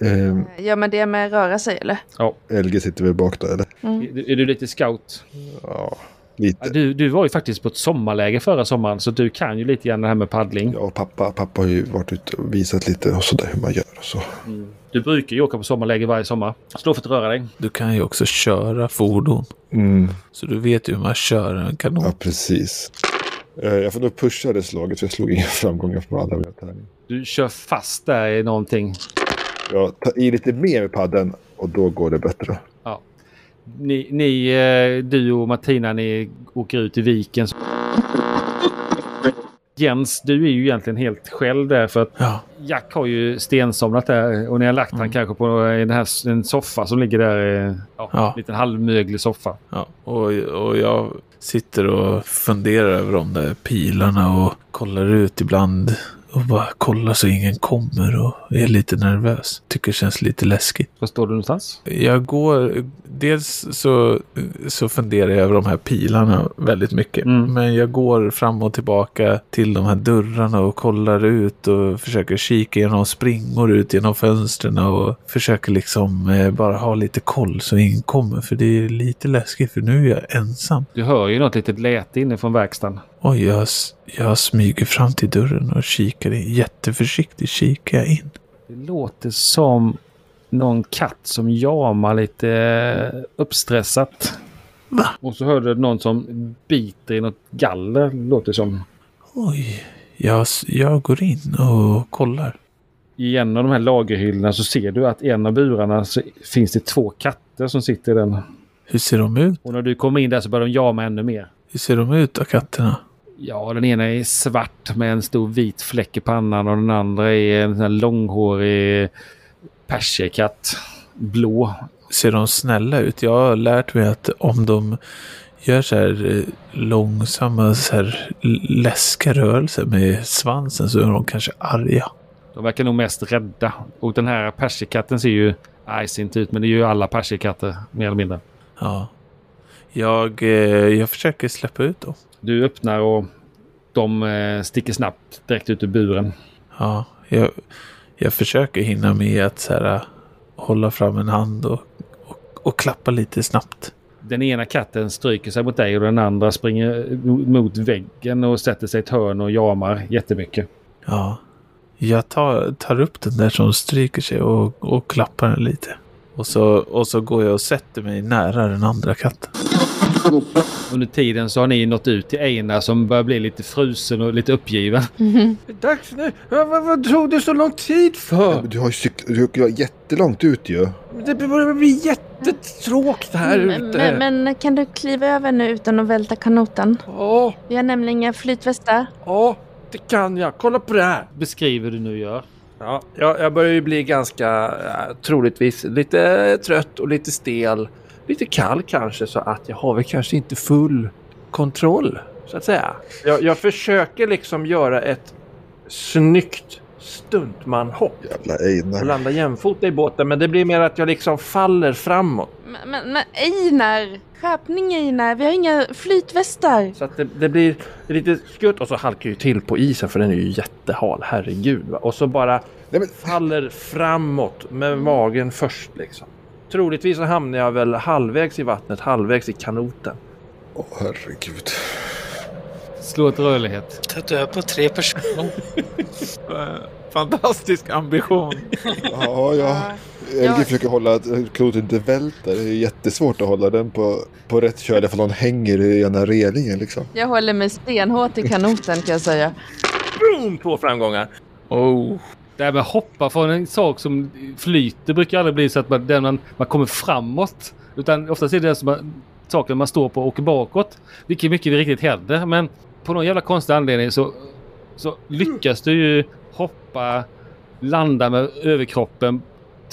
S7: Ehm,
S5: Gör man det med röra sig eller?
S7: LG sitter väl bak där, eller?
S5: Mm.
S4: Är du- Är du lite scout?
S7: Ja,
S4: Ja,
S7: lite.
S4: Du, du var ju faktiskt på ett sommarläger förra sommaren så du kan ju lite grann det här med paddling.
S7: Jag och pappa, pappa har ju varit ute och visat lite och sådär hur man gör och så.
S4: Du brukar ju åka på sommarläger varje sommar. Slå för att röra dig.
S6: Du kan ju också köra fordon.
S7: Mm.
S6: Så du vet ju hur man kör en kanon.
S7: Ja, precis. Eh, Jag får nog pusha det slaget för jag slog inga framgångar på alla mina tärningar.
S4: Du kör fast där i någonting.
S7: Jag tar i lite mer med paddeln och då går det bättre.
S4: Ni, ni, eh, du och Martina, ni åker ut i viken. Jens, du är ju egentligen helt själv där för att
S6: Ja.
S4: Jack har ju stensomnat där och ni har lagt
S6: Mm.
S4: han kanske på en, här, en soffa som ligger där. eh, Ja,
S6: Ja.
S4: En liten halvmöglig soffa.
S6: Ja, och, och jag sitter och funderar över de där pilarna och kollar ut ibland och bara kollar så ingen kommer och är lite nervös. Tycker det känns lite läskigt.
S4: Var står du någonstans?
S6: Jag går, dels så, så funderar jag över de här pilarna väldigt mycket.
S4: Mm.
S6: Men jag går fram och tillbaka till de här dörrarna och kollar ut och försöker kika genom springor ut genom fönstren och försöker liksom eh, bara ha lite koll så ingen kommer. För det är lite läskigt för nu är jag ensam.
S4: Du hör ju något litet läte inifrån verkstaden.
S6: Oj, jag, s- jag smyger fram till dörren och kikar in. Jätteförsiktigt kikar jag in.
S4: Det låter som någon katt som jamar lite eh, uppstressat.
S6: Va?
S4: Och så hörde du någon som biter i något galler, låter det som.
S6: Oj, jag, s- jag går in och kollar.
S4: I en av de här lagerhyllorna så ser du att i en av burarna så finns det två katter som sitter i den.
S6: Hur ser de ut?
S4: Och när du kommer in där så börjar de jama ännu mer.
S6: Hur ser de ut då, katterna?
S4: Ja, den ena är svart med en stor vit fläck i pannan och den andra är en sån här långhårig persiekatt. Blå.
S6: Ser de snälla ut? Jag har lärt mig att om de gör så här eh, långsamma, så här l- läskiga rörelser med svansen så är de kanske arga.
S4: De verkar nog mest rädda. Och den här persiekatten ser ju... Nej, ser inte ut, men det är ju alla persiekatter mer eller mindre.
S6: Ja. Jag, eh, jag försöker släppa ut dem.
S4: Du öppnar och de eh, sticker snabbt direkt ut ur buren.
S6: Ja, jag, jag försöker hinna med att så här, eh, hålla fram en hand och, och, och klappa lite snabbt.
S4: Den ena katten stryker sig mot dig och den andra springer mot väggen och sätter sig i ett hörn och jamar jättemycket.
S6: Ja, jag tar, tar upp den där som stryker sig och, och klappar den lite. Och så, och så går jag och sätter mig nära den andra katten.
S4: Under tiden så har ni nått ut till Einar som börjar bli lite frusen och lite uppgiven.
S9: Det är dags nu! Ja, vad, vad tog det så lång tid
S7: Ja,
S9: för?
S7: men Du har ju cyklat du har jättelångt ut ju.
S9: Det börjar bli jättetråkigt här
S5: Men,
S9: ute.
S5: Mm, men, men kan du kliva över nu utan att välta kanoten?
S9: Ja,
S5: Vi har nämligen inga flytvästar.
S9: ja, det kan jag. Kolla på det här.
S4: Beskriver du nu gör.
S9: Ja, jag, jag börjar ju bli ganska äh, troligtvis lite trött och lite stel. Lite kall kanske så att jag har väl kanske inte full kontroll så att säga. Jag, jag försöker liksom göra ett snyggt stuntmanhopp
S7: Jävla
S9: och
S7: Einar.
S9: landa jämfota i båten men det blir mer att jag liksom faller framåt.
S5: Men, men, men Einar! Skärpning Einar, vi har inga flytvästar.
S9: Så att det, det blir lite skutt och så halkar jag ju till på isen för den är ju jättehal, herregud. Va? Och så bara
S7: Nej, men,
S9: faller framåt med magen först liksom. Troligtvis så hamnar jag väl halvvägs i vattnet, halvvägs i kanoten.
S7: åh, herregud.
S4: Slå ett rörlighet.
S8: Ta död på tre personer.
S6: Eh, Fantastisk ambition.
S7: Ja, ja. LG försöker hålla att klotet inte välter. Det är ju jättesvårt att hålla den på, på rätt köl ifall någon hänger i ena relingen liksom.
S5: Jag håller mig stenhårt i kanoten kan jag säga.
S9: Boom! Två framgångar.
S6: Oh.
S4: Det här med att hoppa från en sak som flyter brukar aldrig bli så att man, den man, man kommer framåt. Utan oftast är det den som man, saken man står på och åker bakåt. Vilket mycket riktigt händer. Men på någon jävla konstig anledning så, så lyckas du ju hoppa, landa med överkroppen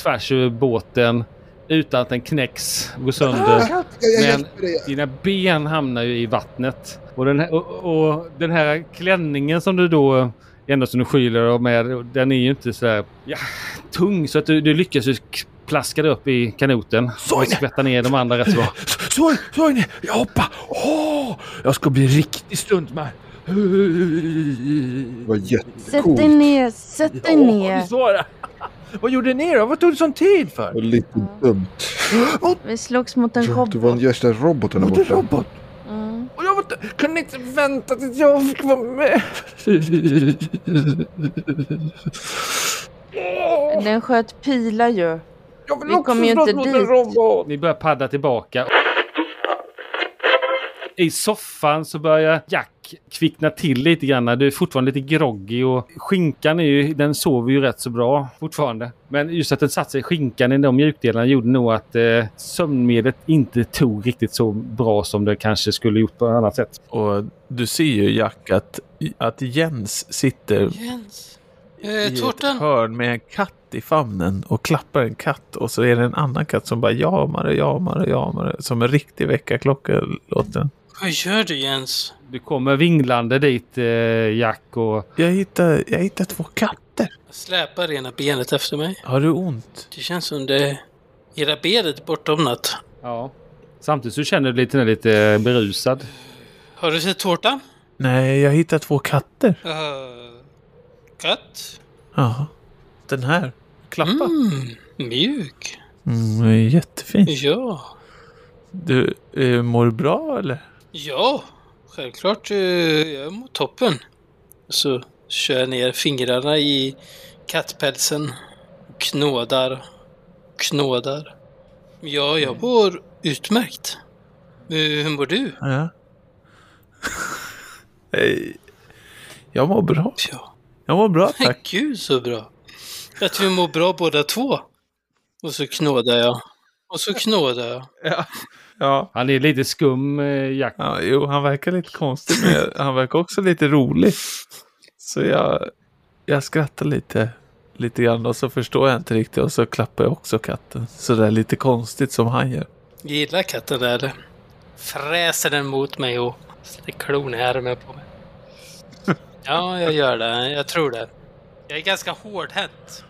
S4: tvärs över båten, utan att den knäcks, går sönder.
S7: Jag, jag
S4: Men
S7: hjälper dig.
S4: dina ben hamnar ju i vattnet. Och den här, och, och den här klänningen som du då ändå som du skyller av med, den är ju inte så här, ja, tung så att du, du lyckas ju k- plaska dig upp i kanoten.
S6: Så
S4: och
S6: är det.
S4: skvätta ner de andra rätt så bra.
S6: Så, så är ni! Jag hoppar! Åh! Jag ska bli riktigt stuntman!
S7: Det var
S10: Sätt
S7: jättecoolt.
S10: dig ner, sätt dig
S6: Åh,
S10: ner.
S6: ni svarar. Vad gjorde ni då? Vad tog det sån tid för?
S7: Och lite dumt.
S10: Vi slogs mot en
S7: Det var en
S10: robot.
S7: värsta roboten där
S6: Mot en
S7: borta.
S6: robot?
S10: Mm.
S6: Och jag var inte, kunde inte vänta tills jag fick vara med.
S5: Den sköt pilar ju.
S6: Jag vill
S5: Vi
S6: också
S5: kommer ju
S6: slåss
S5: inte
S6: mot en
S5: dit.
S6: robot.
S4: Ni börjar paddla tillbaka. I soffan så börjar Jack kvickna till lite grann. Du är fortfarande lite groggy och skinkan är ju, den sover ju rätt så bra fortfarande. Men just att den satte sig i skinkan i de mjukdelarna gjorde nog att eh, sömnmedlet inte tog riktigt så bra som det kanske skulle gjort på annat sätt.
S6: Och du ser ju Jack att, att Jens sitter
S8: Jens.
S6: i
S8: Eh,
S6: ett
S8: tårtan.
S6: hörn med en katt i famnen och klappar en katt och så är det en annan katt som bara jamar och jamar och jamar som en riktig väckarklocka låter den.
S8: Vad gör du Jens?
S4: Du kommer vinglande dit eh, Jack och
S6: jag hittar, jag hittar två katter.
S8: Jag släpar ena benet efter mig.
S6: Har du ont?
S8: Det känns som det... Era benet är bortomnat.
S4: ja. Samtidigt så känner du lite, lite berusad.
S8: Har du sett tårtan?
S6: Nej, jag hittar två katter.
S8: Uh, katt?
S6: Ja. Den här. Klappa.
S8: Mm, mjuk.
S6: Mm, den är jättefin.
S8: Ja.
S6: Du, eh, mår du bra eller?
S8: Ja. Självklart. eh, jag mår toppen. Så kör jag ner fingrarna i kattpälsen. Knådar. Knådar. Ja, jag mår utmärkt. Eh, hur mår du?
S6: Ja. Hej. jag mår bra.
S8: Ja.
S6: Jag mår bra tack.
S8: Gud så bra! Att vi mår bra båda två. Och så knådar jag. Och så knådar jag.
S6: Ja.
S4: Han är lite skum eh, Jack.
S6: Ja, jo, han verkar lite konstig, men jag- han verkar också lite rolig. Så jag, jag skrattar lite, lite grann och så förstår jag inte riktigt och så klappar jag också katten. Så det är lite konstigt som han gör.
S8: Gillar katten det eller? Fräser den mot mig och sätter klon i armen på mig. Ja, jag gör det. Jag tror det. Jag är ganska hårdhänt.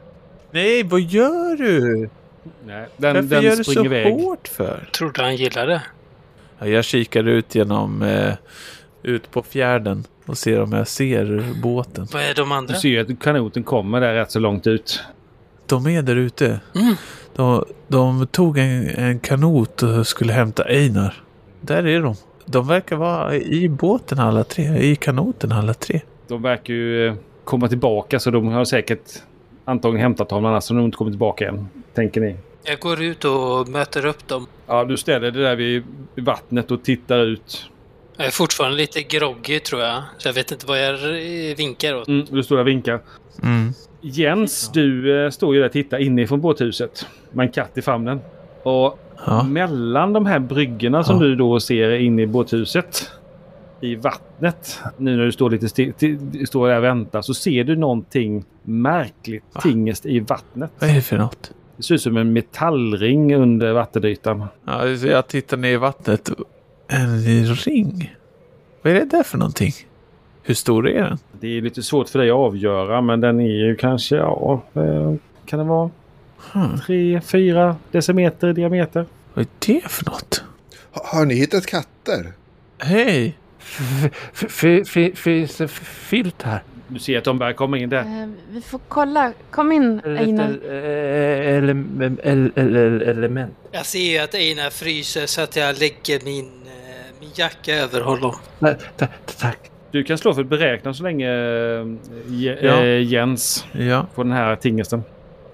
S6: Nej, vad gör du?
S4: Nej, den,
S6: Varför
S4: den
S6: gör du
S4: springer
S6: så
S4: iväg.
S6: hårt för?
S8: Tror du han gillar det?
S6: Ja, jag kikar ut genom, eh, ut på fjärden och ser om jag ser båten.
S8: Vad är de
S4: Du
S8: andra?
S4: ser ju att kanoten kommer där rätt så långt ut.
S6: De är där ute.
S8: Mm.
S6: De, de tog en, en kanot och skulle hämta Einar. Där är de. De verkar vara i båten alla tre, i kanoten alla tre.
S4: De verkar ju eh, komma tillbaka så de har säkert antagligen hämtat honom annars har de inte kommit tillbaka än. Tänker ni?
S8: Jag går ut och möter upp dem.
S4: Ja, du ställer dig där vid vattnet och tittar ut.
S8: Jag är fortfarande lite groggy tror jag. Så jag vet inte vad jag eh, vinkar åt.
S4: Mm, du står där och vinkar.
S6: Mm.
S4: Jens, du eh, står ju där och tittar inifrån båthuset. Med en katt i famnen. Och
S6: Ja.
S4: mellan de här bryggorna som
S6: Ja.
S4: du då ser inne i båthuset. I vattnet. Nu när du står lite still, står där och väntar så ser du någonting märkligt tingest i vattnet.
S6: Vad är det för något?
S4: Det ser ut som en metallring under vattenytan.
S6: Ja, så jag tittar ner i vattnet. En ring? Vad är det där för någonting? Hur stor är den?
S4: Det är lite svårt för dig att avgöra men den är ju kanske, ja, eh, kan det vara
S6: Hmm.
S4: 3-4 decimeter i diameter?
S6: Vad är det för något?
S7: Ha- Har ni hittat katter?
S6: Hej!
S9: Finns det filt här?
S4: Du ser att de börjar komma in där.
S10: Eh, Vi får kolla. Kom in Einar.
S9: eh, Element.
S8: Jag ser ju att Einar fryser så att jag lägger min, eh, min jacka över honom.
S9: Tack.
S4: Du kan slå för att beräkna så länge eh, Je-
S6: Ja.
S4: eh, Jens
S6: Ja,
S4: på den här tingesten.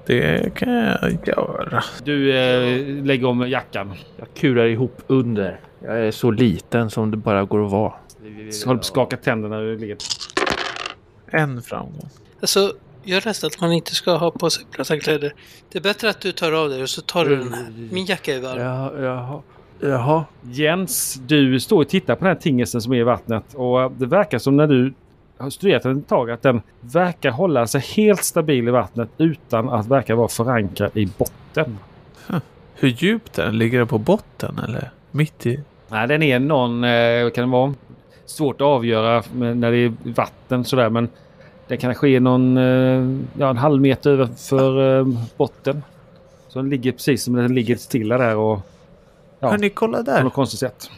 S6: det kan jag göra.
S4: Du eh, lägger om jackan.
S9: Jag kurar ihop under. Jag är så liten som det bara går att vara.
S4: Håller på att skaka tänderna ur led.
S6: En framgång.
S8: Alltså, jag är rädd att man inte ska ha på sig platta kläder. Det är bättre att du tar av dig och så tar du den här. Min jacka är varm.
S9: Ja, jaha. Jaha.
S4: Jens, du står och tittar på den här tingesten som är i vattnet och det verkar som när du har studerat den ett tag att den verkar hålla sig helt stabil i vattnet utan att verka vara förankrad i botten.
S6: Hur djupt är den? Ligger den på botten eller mitt i?
S4: Nej, den är någon, eh, vad kan det vara? Svårt att avgöra men när det är vatten sådär men den kanske är någon, eh, ja en halv meter över för eh, botten. Så den ligger precis som den ligger stilla där och Ja.
S6: Hörni, kolla
S4: på
S6: där.
S4: något konstigt sätt.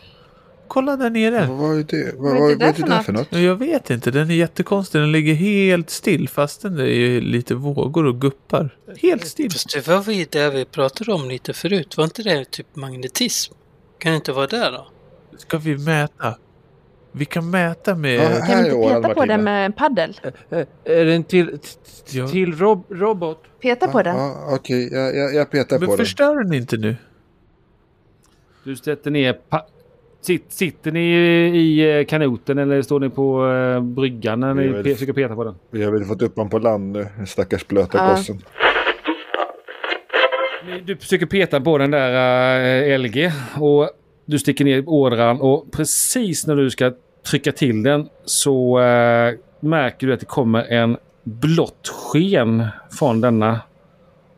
S6: Kolla där nere.
S7: Vad var det,
S10: Vad
S7: vad,
S10: är
S7: vad,
S10: det
S7: vad är det där för något?
S6: Ja, Jag vet inte, den är jättekonstig. Den ligger helt still fastän det är lite vågor och guppar. Helt still.
S8: Fast det var vi- det vi pratade om lite förut. Var inte det typ magnetism? Kan det inte vara där då?
S6: Ska vi mäta? Vi kan mäta
S7: Ja,
S6: med...
S10: Kan
S7: här
S10: vi inte
S7: är åran
S10: peta på den
S7: Martina.
S10: med en paddel?
S9: Är det en till,
S6: Ja.
S9: till rob, robot?
S10: Peta på den.
S7: Ja, Okej, jag, jag, jag petar på
S6: Men
S7: den.
S6: förstör den inte nu.
S4: Du sätter ner... Pa- sit- sitter ni i eh, kanoten eller står ni på eh, bryggan när
S7: Vi
S4: ni
S7: är väl-
S4: pe- försöker peta på den?
S7: Vi har väl fått upp honom på land nu, den stackars blöta
S5: Ja.
S7: gossen.
S4: Ni- Du försöker peta på den där eh, LG och du sticker ner ådran och precis när du ska trycka till den så eh, märker du att det kommer en blått sken från denna.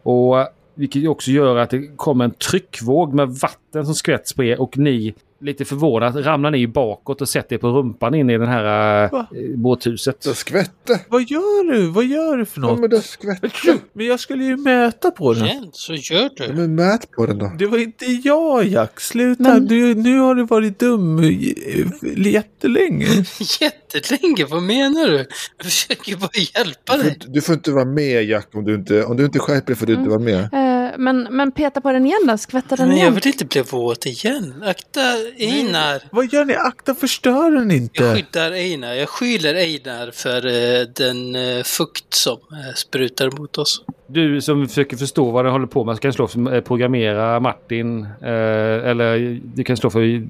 S4: Och eh, vilket ju också gör att det kommer en tryckvåg med vatten som skvätts på er och ni lite förvånat ramlar ni bakåt och sätter er på rumpan in i det här eh,
S6: Va?
S4: båthuset.
S7: Det skvätte!
S6: Vad gör du? Vad gör du för
S7: Ja,
S6: något?
S7: men det skvätte!
S6: Men jag skulle ju mäta på den.
S8: Igen, så gör
S7: Ja,
S8: du.
S7: Men mät på den då.
S6: Det var inte jag, Jack. Sluta.
S5: Men-
S6: Du, nu har du varit dum eh, jättelänge.
S8: Jättelänge, vad menar du? Jag försöker ju bara hjälpa
S7: Du får,
S8: dig.
S7: inte, du får inte vara med Jack om du inte, om du inte skärper dig får du inte vara med.
S5: Eh, men, men peta på den igen då, skvätta den
S8: Men jag
S5: igen.
S8: vill inte bli våt igen. Akta Einar.
S6: Vad gör ni? Akta, förstör den
S8: Jag
S6: inte.
S8: skyddar Einar. Jag skyller Einar för eh, den eh, fukt som eh, sprutar mot oss.
S4: Du som försöker förstå vad den håller på med så kan slå för eh, programmera Martin. Eh, eller du kan slå för eh,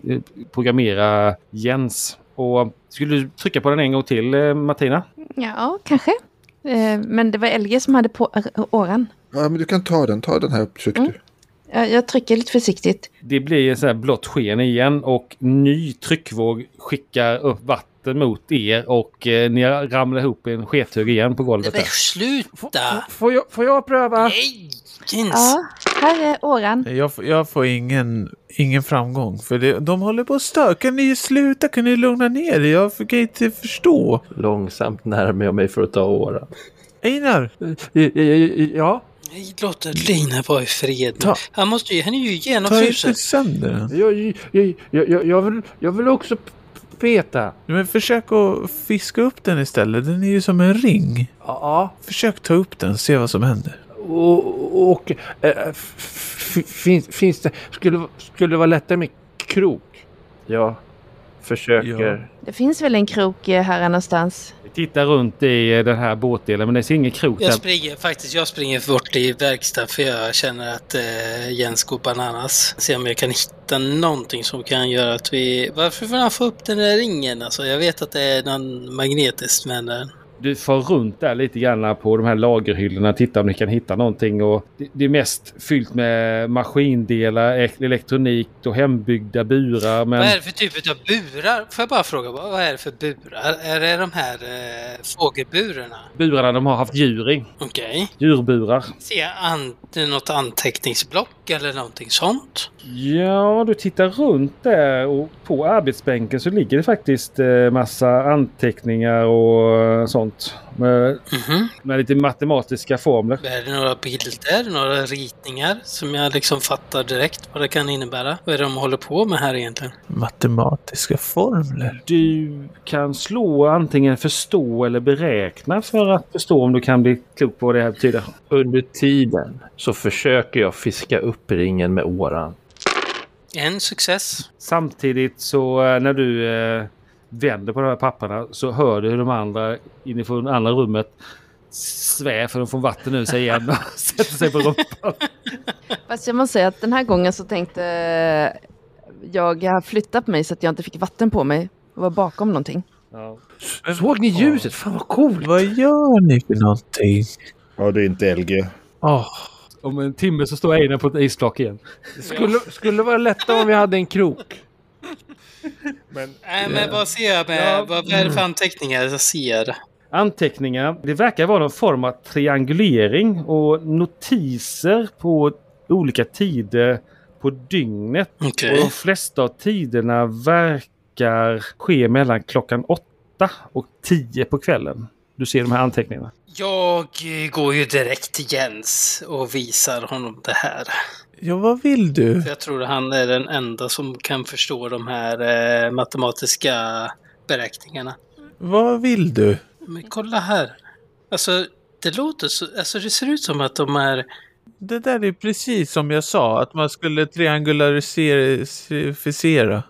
S4: programmera Jens. Och skulle du trycka på den en gång till eh, Martina?
S5: Ja, kanske. Eh, men det var LG som hade på äh, åran.
S7: Ja, men du kan ta den. Ta den här försök
S10: Mm.
S7: du.
S5: Jag, jag trycker lite försiktigt.
S4: Det blir så här blått sken igen och ny tryckvåg skickar upp vatten mot er och eh, ni ramlar ihop i en skethög igen på golvet.
S8: Men
S4: Där.
S8: sluta!
S9: Får jag, får jag pröva?
S8: Nej! Jens!
S5: Ja, här är åran.
S6: Jag, f- jag får ingen, ingen framgång. För det, de håller på att stör. Kan ni sluta? Kan ni lugna ner er? Jag fick inte förstå.
S11: Långsamt närmar jag mig för att ta åran.
S6: Einar,
S9: I- i- i- eh, Ja,
S8: Nej, låt Einar vara i fred.
S6: Ta-
S8: Han måste ju, han är ju
S6: ta inte
S8: genomfrusen.
S6: sönder den.
S9: jag, jag, jag, jag, jag, vill, jag vill också p- peta.
S6: Men försök att fiska upp den istället. Den är ju som en ring.
S9: Ja,
S6: Försök ta upp den, se vad som händer.
S9: och, och eh, f- f- finns, finns det... Skulle, skulle det vara lättare med krok? Jag försöker.
S5: Det finns väl en krok eh, här någonstans?
S4: Titta runt i eh, den här båtdelen men det ser ingen krok
S8: Jag
S4: där.
S8: springer faktiskt, jag springer bort i verkstad för jag känner att eh, Jens går bananas. Se om jag kan hitta någonting som kan göra att vi... Varför får han få upp den där ringen? Alltså, jag vet att det är någon magnetiskt men... eh,
S4: Du far runt där lite grann på de här lagerhyllorna och tittar om ni kan hitta någonting. Och det, det är mest fyllt med maskindelar, ek- elektronik och hembyggda burar. Men
S8: Vad är det för typ av burar? Får jag bara fråga, vad vad är det för burar? Är det de här eh, fågelburarna?
S4: burarna de har haft djur i.
S8: Okej.
S4: Djurburar.
S8: Ser jag an- något anteckningsblock eller någonting sånt?
S4: Ja, du tittar runt där och på arbetsbänken så ligger det faktiskt eh, massa anteckningar och eh, sånt. Med,
S8: Mhm.
S4: med lite matematiska formler.
S8: Är det några bilder, några ritningar som jag liksom fattar direkt vad det kan innebära? Vad är det de håller på med här egentligen?
S6: Matematiska formler.
S4: Du kan slå antingen förstå eller beräkna för att förstå om du kan bli klok på vad det här betyder.
S11: Under tiden så försöker jag fiska upp ringen med åran.
S8: En success.
S4: Samtidigt så eh, när du eh, vänder på de här papperna så hör du hur de andra inifrån andra rummet svävar de från vatten ur sig igen och sätter sig på rumpan.
S5: Fast jag måste säga att den här gången så tänkte
S10: eh,
S5: jag har flyttat mig så att jag inte fick vatten på mig och var bakom någonting.
S4: Ja.
S9: Såg ni ljuset? Fan vad coolt!
S6: Vad gör ni för någonting?
S7: Ja, det är inte LG.
S6: Åh,
S4: Om en timme så står Einar på ett isflak igen.
S9: Skulle, skulle det vara lättare om vi hade en krok?
S8: Nej, men vad ser jag med? Vad vad är det för anteckningar jag ser?
S4: Anteckningar. Det verkar vara någon form av triangulering och notiser på olika tider på dygnet.
S8: Okej.
S4: Och de flesta av tiderna verkar ske mellan klockan åtta och tio på kvällen. Du ser de här anteckningarna.
S8: Jag eh, går ju direkt till Jens och visar honom det här.
S6: Ja, vad vill du?
S8: För Jag tror att han är den enda som kan förstå de här eh, matematiska beräkningarna.
S6: Vad vill du?
S8: Men kolla här. Alltså, det låter så... Alltså, det ser ut som att de är...
S6: Det där är precis som jag sa, att man skulle triangularisera.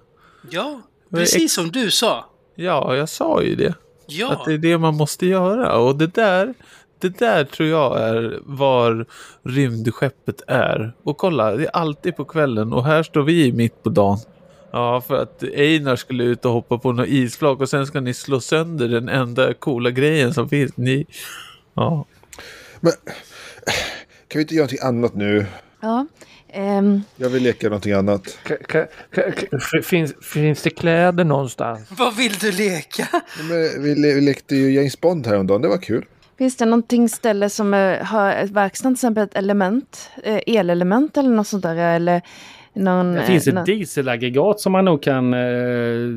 S8: Ja,
S6: Vad är
S8: precis
S6: ex-
S8: som du sa.
S6: Ja, jag sa ju det.
S8: Ja.
S6: Att det är det man måste göra. Och det där, det där tror jag är var rymdskeppet är. Och kolla, det är alltid på kvällen och här står vi mitt på dagen. Ja, för att Einar skulle ut och hoppa på något isflak och sen ska ni slå sönder den enda coola grejen som finns. Ni... Ja.
S7: Kan vi inte göra någonting annat nu?
S10: Ja. ehm,
S7: Jag vill leka någonting annat.
S9: K- k- k- k- finns, finns det kläder någonstans?
S8: Vad vill du leka?
S7: Nej, Men vi, le vi lekte ju James Bond häromdagen, det var kul.
S10: finns det någonting ställe som eh, har ett verkstad, till exempel ett element, eh, elelement eller något sånt där? Eller någon,
S4: Det finns
S10: eh,
S4: ett
S10: någon-
S4: dieselaggregat som man nog kan eh,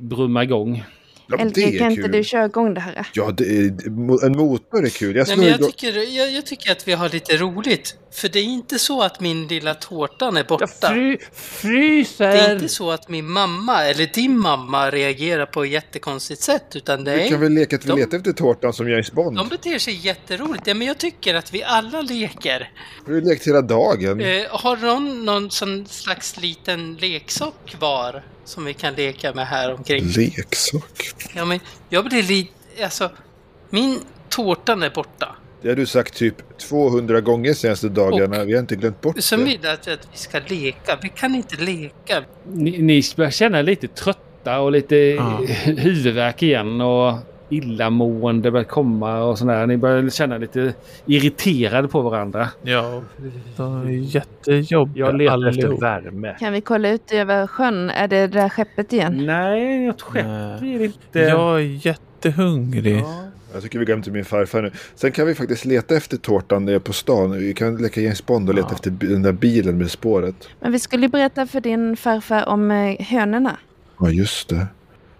S4: brumma igång.
S7: Ja, men
S10: eller
S7: det
S10: kan
S7: är
S10: inte du
S7: kul.
S10: köra igång det här?
S7: Ja, det är, mo- en motor är kul. Jag
S8: Nej, men
S7: snurrar
S8: jag,
S7: igång.
S8: tycker, jag, jag tycker att vi har lite roligt. För det är inte så att min lilla tårtan är borta.
S9: Fry,
S8: Det är
S9: fryser!
S8: inte så att min mamma eller din mamma reagerar på ett jättekonstigt sätt. Utan det
S7: Vi kan
S8: är,
S7: väl leka att vi
S8: De-
S7: letar efter tårtan som James Bond.
S8: de beter sig jätteroligt. Ja, men jag tycker att vi alla leker.
S7: Vi har ju lekt hela dagen.
S8: Eh, har någon någon sån slags liten leksak kvar som vi kan leka med här omkring?
S7: Mm. Leksak.
S8: Ja, men jag blir lite... Alltså, min tårtan är borta.
S7: Det har du sagt typ 200 gånger senaste dagarna. Vi har inte glömt bort
S8: Sen
S7: det.
S8: vill jag att att vi ska leka. Vi kan inte leka.
S4: Ni, ni börjar känna er lite trötta och lite
S6: Ja.
S4: huvudvärk igen och illamående börjar komma och sådär. Ni börjar känna er lite irriterade på varandra.
S6: Ja, de är jättejobbiga
S11: Jag letar efter
S6: allihop.
S11: värme.
S10: Kan vi kolla ut över sjön? Är det det där skeppet igen?
S4: Mm. Nej, något skepp
S6: Nej.
S4: är det inte.
S6: Jag är jättehungrig.
S4: Ja.
S7: Jag tycker vi går hem till min farfar nu. Sen kan vi faktiskt leta efter tårtan eh, på stan. Vi kan leka James Bond och leta efter bi- den där bilen med spåret.
S10: Men vi skulle ju berätta för din farfar om eh, hönorna.
S7: Ja, just det.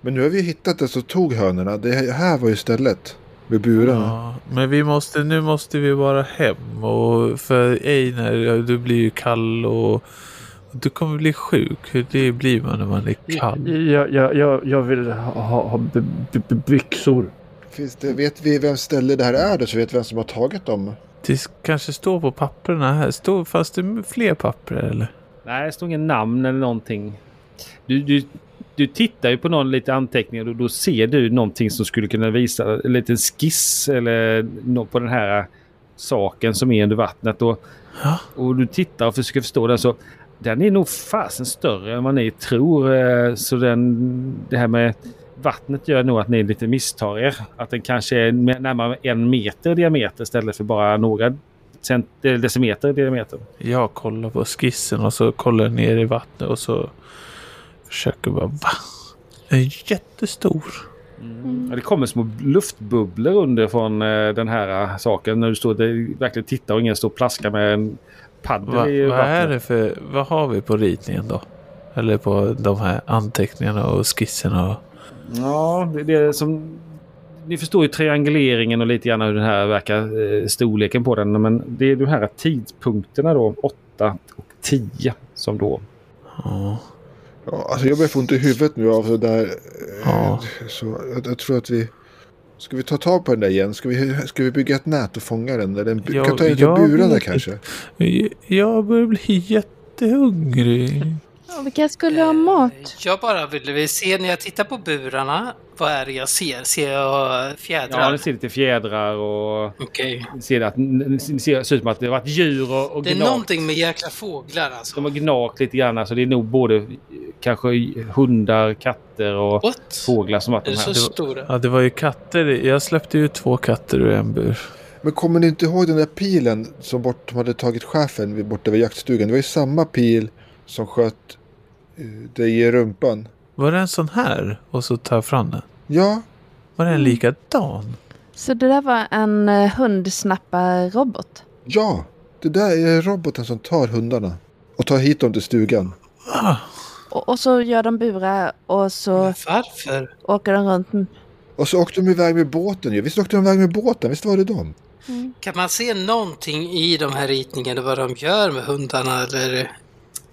S7: Men nu har vi hittat det som tog hönorna. Det här var ju stället. Med burarna.
S6: Ja, men vi måste, nu måste vi bara hem. Och för Einar, ja, du blir ju kall och du kommer bli sjuk. Det blir man när man är kall.
S11: Jag, jag, jag, jag vill ha, ha, ha b- b- b- byxor.
S7: Finns det, vet vi vem ställe det här är då? Så vet vi vem som har tagit dem.
S6: Det kanske står på papperna här. Står, fanns det fler papper eller?
S4: Nej, det står ingen namn eller någonting. Du, du, du tittar ju på någon lite anteckningar och då ser du någonting som skulle kunna visa en liten skiss eller nå- på den här saken som är under vattnet. Och,
S6: Ja.
S4: och du tittar och försöker förstå den så den är nog fasen större än vad ni tror. eh, Så den, det här med vattnet gör nog att ni lite misstar er. Att den kanske är nä- närmare en meter i diameter istället för bara några cent- eh, decimeter i diameter.
S6: Jag kollar på skissen och så kollar jag ner i vattnet och så försöker bara va? Den är jättestor.
S4: Ja, det kommer små luftbubblor under från eh, den här eh, saken. När du står där, verkligen tittar och ingen står och plaskar med en paddel
S6: Va,
S4: i
S6: vad är
S4: vattnet.
S6: det för, vad har vi på ritningen då? Eller på de här anteckningarna och skisserna? Och...
S4: Ja, det, det är som... Ni förstår ju trianguleringen och lite grann hur den här verkar, eh, storleken på den. Men det är de här tidpunkterna då, 8 och 10, som då...
S6: Ja.
S7: Ja, alltså jag börjar få ont i huvudet nu av det där. eh,
S6: Ja.
S7: Så jag, jag tror att vi... Ska vi ta tag på den där igen? Ska vi, ska vi bygga ett nät och fånga den? Eller en, bu-
S6: Ja,
S7: kan vi ta den
S6: jag
S7: av burarna
S6: vet
S7: kanske?
S6: Jag börjar bli jättehungrig.
S10: Och vilka skulle ha mat?
S8: Eh, Jag bara ville vill se när jag tittar på burarna. Vad är det jag ser? Ser jag
S4: Ja,
S8: fjädrar?
S4: ni ser lite fjädrar och...
S8: Okej.
S4: Ni ser, att, ni ser, det ser ut som att det har varit djur och, och
S8: Det är
S4: gnagt.
S8: någonting med jäkla fåglar
S4: De
S8: alltså.
S4: har gnagt lite grann. Alltså det är nog både eh, kanske hundar, katter och
S8: What?
S4: fåglar som varit
S8: Är
S4: de
S8: det
S4: här.
S8: så
S6: det var-
S8: stora?
S6: Ja, det var ju katter. Jag släppte ju två katter ur en bur.
S7: Men kommer ni inte ihåg den där pilen som, bort, som hade tagit chefen vid- borta vid jaktstugan? Det var ju samma pil som sköt eh, dig i rumpan.
S6: Var det en sån här? Och så tar jag fram den.
S7: Ja,
S6: Var det
S9: Mm.
S6: en likadan?
S10: Så det där var en eh, hundsnapparrobot?
S7: ja, Det där är roboten som tar hundarna och tar hit dem till stugan.
S6: Ah!
S5: Och, och så gör de burar och så
S8: Varför?
S5: åker de runt. Mm.
S7: Och så åkte de iväg med båten ju. Visst åkte de iväg med båten? Visst var det dem?
S8: Kan man se någonting i de här ritningarna vad de gör med hundarna eller?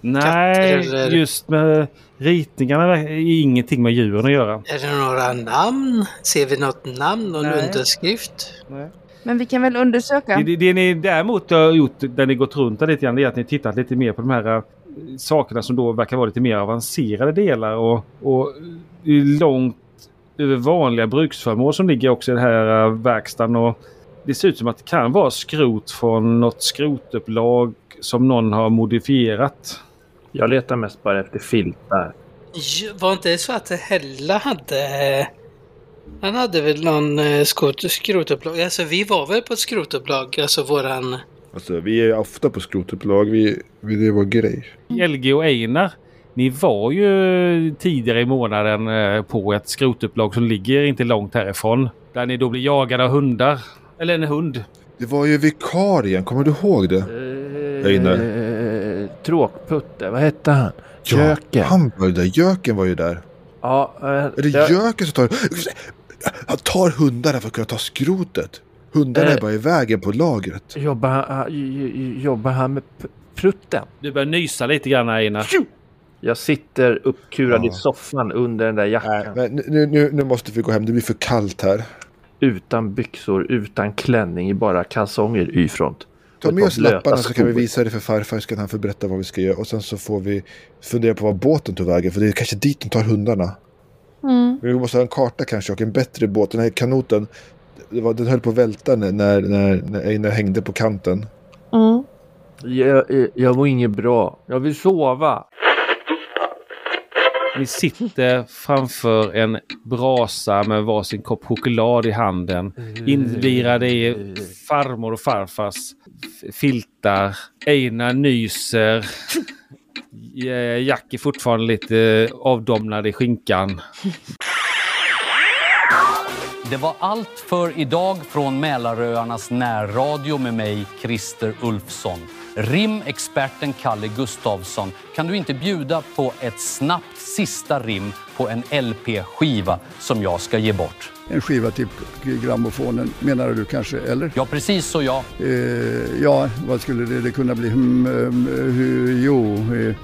S4: Nej,
S8: Katter eller-
S4: just med ritningarna där är ingenting med djuren att göra.
S8: Är det några namn? Ser vi något namn? Någon
S4: Nej.
S8: underskrift?
S5: Men vi kan väl undersöka.
S4: Det, det ni däremot har gjort där ni gått runt där lite grann det är att ni tittat lite mer på de här eh, sakerna som då verkar vara lite mer avancerade delar och, och det är långt över vanliga bruksföremål som ligger också i den här eh, verkstaden. Och det ser ut som att det kan vara skrot från något skrotupplag som någon har modifierat.
S9: Jag letar mest bara efter filtar.
S8: J- Var inte det så att Hella hade... eh, Han hade väl någon eh, skot- skrotupplag? Alltså vi var väl på ett skrotupplag, alltså våran...
S7: Alltså, vi är ju ofta på skrotupplag. Vi, vi, det är vår grej.
S4: LG och Einar, ni var ju tidigare i månaden eh, på ett skrotupplag som ligger inte långt härifrån. Där ni då blir jagade av hundar. Eller en hund.
S7: Det var ju vikarien. Kommer du ihåg det? Einar.
S9: Eh, Tråkputte, vad hette han?
S7: Ja,
S9: Jöken.
S7: Han var ju där. Göken var ju där.
S9: Ja, eh,
S7: Är det
S9: jag-
S7: göken som tar... Han tar hundarna för att kunna ta skrotet. Hundarna är
S9: Eh.
S7: bara i vägen på lagret.
S9: Jobbar han, j- j- jobbar han med p- prutten?
S4: Du börjar nysa lite grann Einar.
S9: Jag sitter uppkurad
S7: Ja.
S9: i soffan under den där jackan.
S7: Nej, men nu, nu, nu måste vi gå hem. Det blir för kallt här.
S9: Utan byxor, utan klänning, i bara kalsonger y front.
S7: Ta
S9: Och
S7: med
S9: ett
S7: oss
S9: par blöta
S7: lapparna så kan vi
S9: skor.
S7: visa det för farfar. Så kan han få berätta vad vi ska göra. Och sen så får vi fundera på var båten tog vägen. För det är kanske dit de tar hundarna.
S5: Mm.
S7: Vi måste ha en karta kanske och en bättre båt. Den här kanoten, det var, den höll på att välta när, när, när, när Einar hängde på kanten.
S5: Mm.
S9: Jag, jag, jag mår inget bra. Jag vill sova.
S4: Ni sitter framför en brasa med varsin kopp choklad i handen. Invirade i farmor och farfars f- filtar. Einar nyser. Ja, Jack är fortfarande lite avdomnad i skinkan.
S2: Det var allt för idag från Mälaröarnas närradio med mig, Christer Ulfsson. Rimexperten Kalle Gustavsson, kan du inte bjuda på ett snabbt sista rim på en LP-skiva som jag ska ge bort?
S3: En skiva till grammofonen menar du kanske, eller?
S2: Ja, precis så ja.
S3: Eh, ja, vad skulle det, det kunna bli? Hmm, ehm, hur, jo, eh.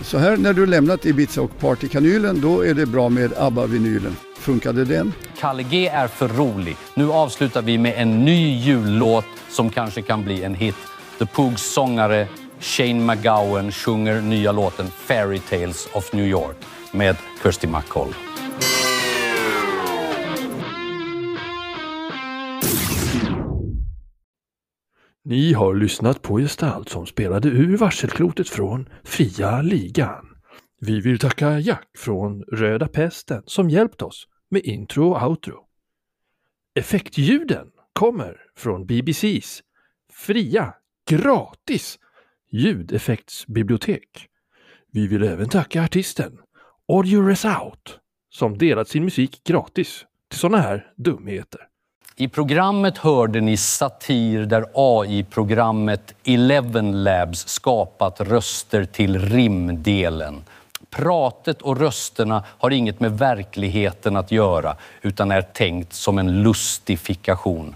S3: så här när du lämnat Ibiza och partykanylen, då är det bra med ABBA-vinylen. Funkade den?
S2: Kalle G är för rolig. Nu avslutar vi med en ny jullåt som kanske kan bli en hit. The Poogs sångare Shane McGowan sjunger nya låten Fairy Tales of New York med Kirsty MacColl.
S9: Ni har lyssnat på gestalt som spelade ur varselklotet från Fria Ligan. Vi vill tacka Jack från Röda Pesten som hjälpt oss med intro och outro. Effektljuden kommer från BBCs fria, gratis ljudeffektsbibliotek. Vi vill även tacka artisten Audio Resout som delat sin musik gratis till sådana här dumheter.
S2: I programmet hörde ni satir där AI-programmet Eleven Labs skapat röster till rimdelen. Pratet och rösterna har inget med verkligheten att göra utan är tänkt som en lustifikation.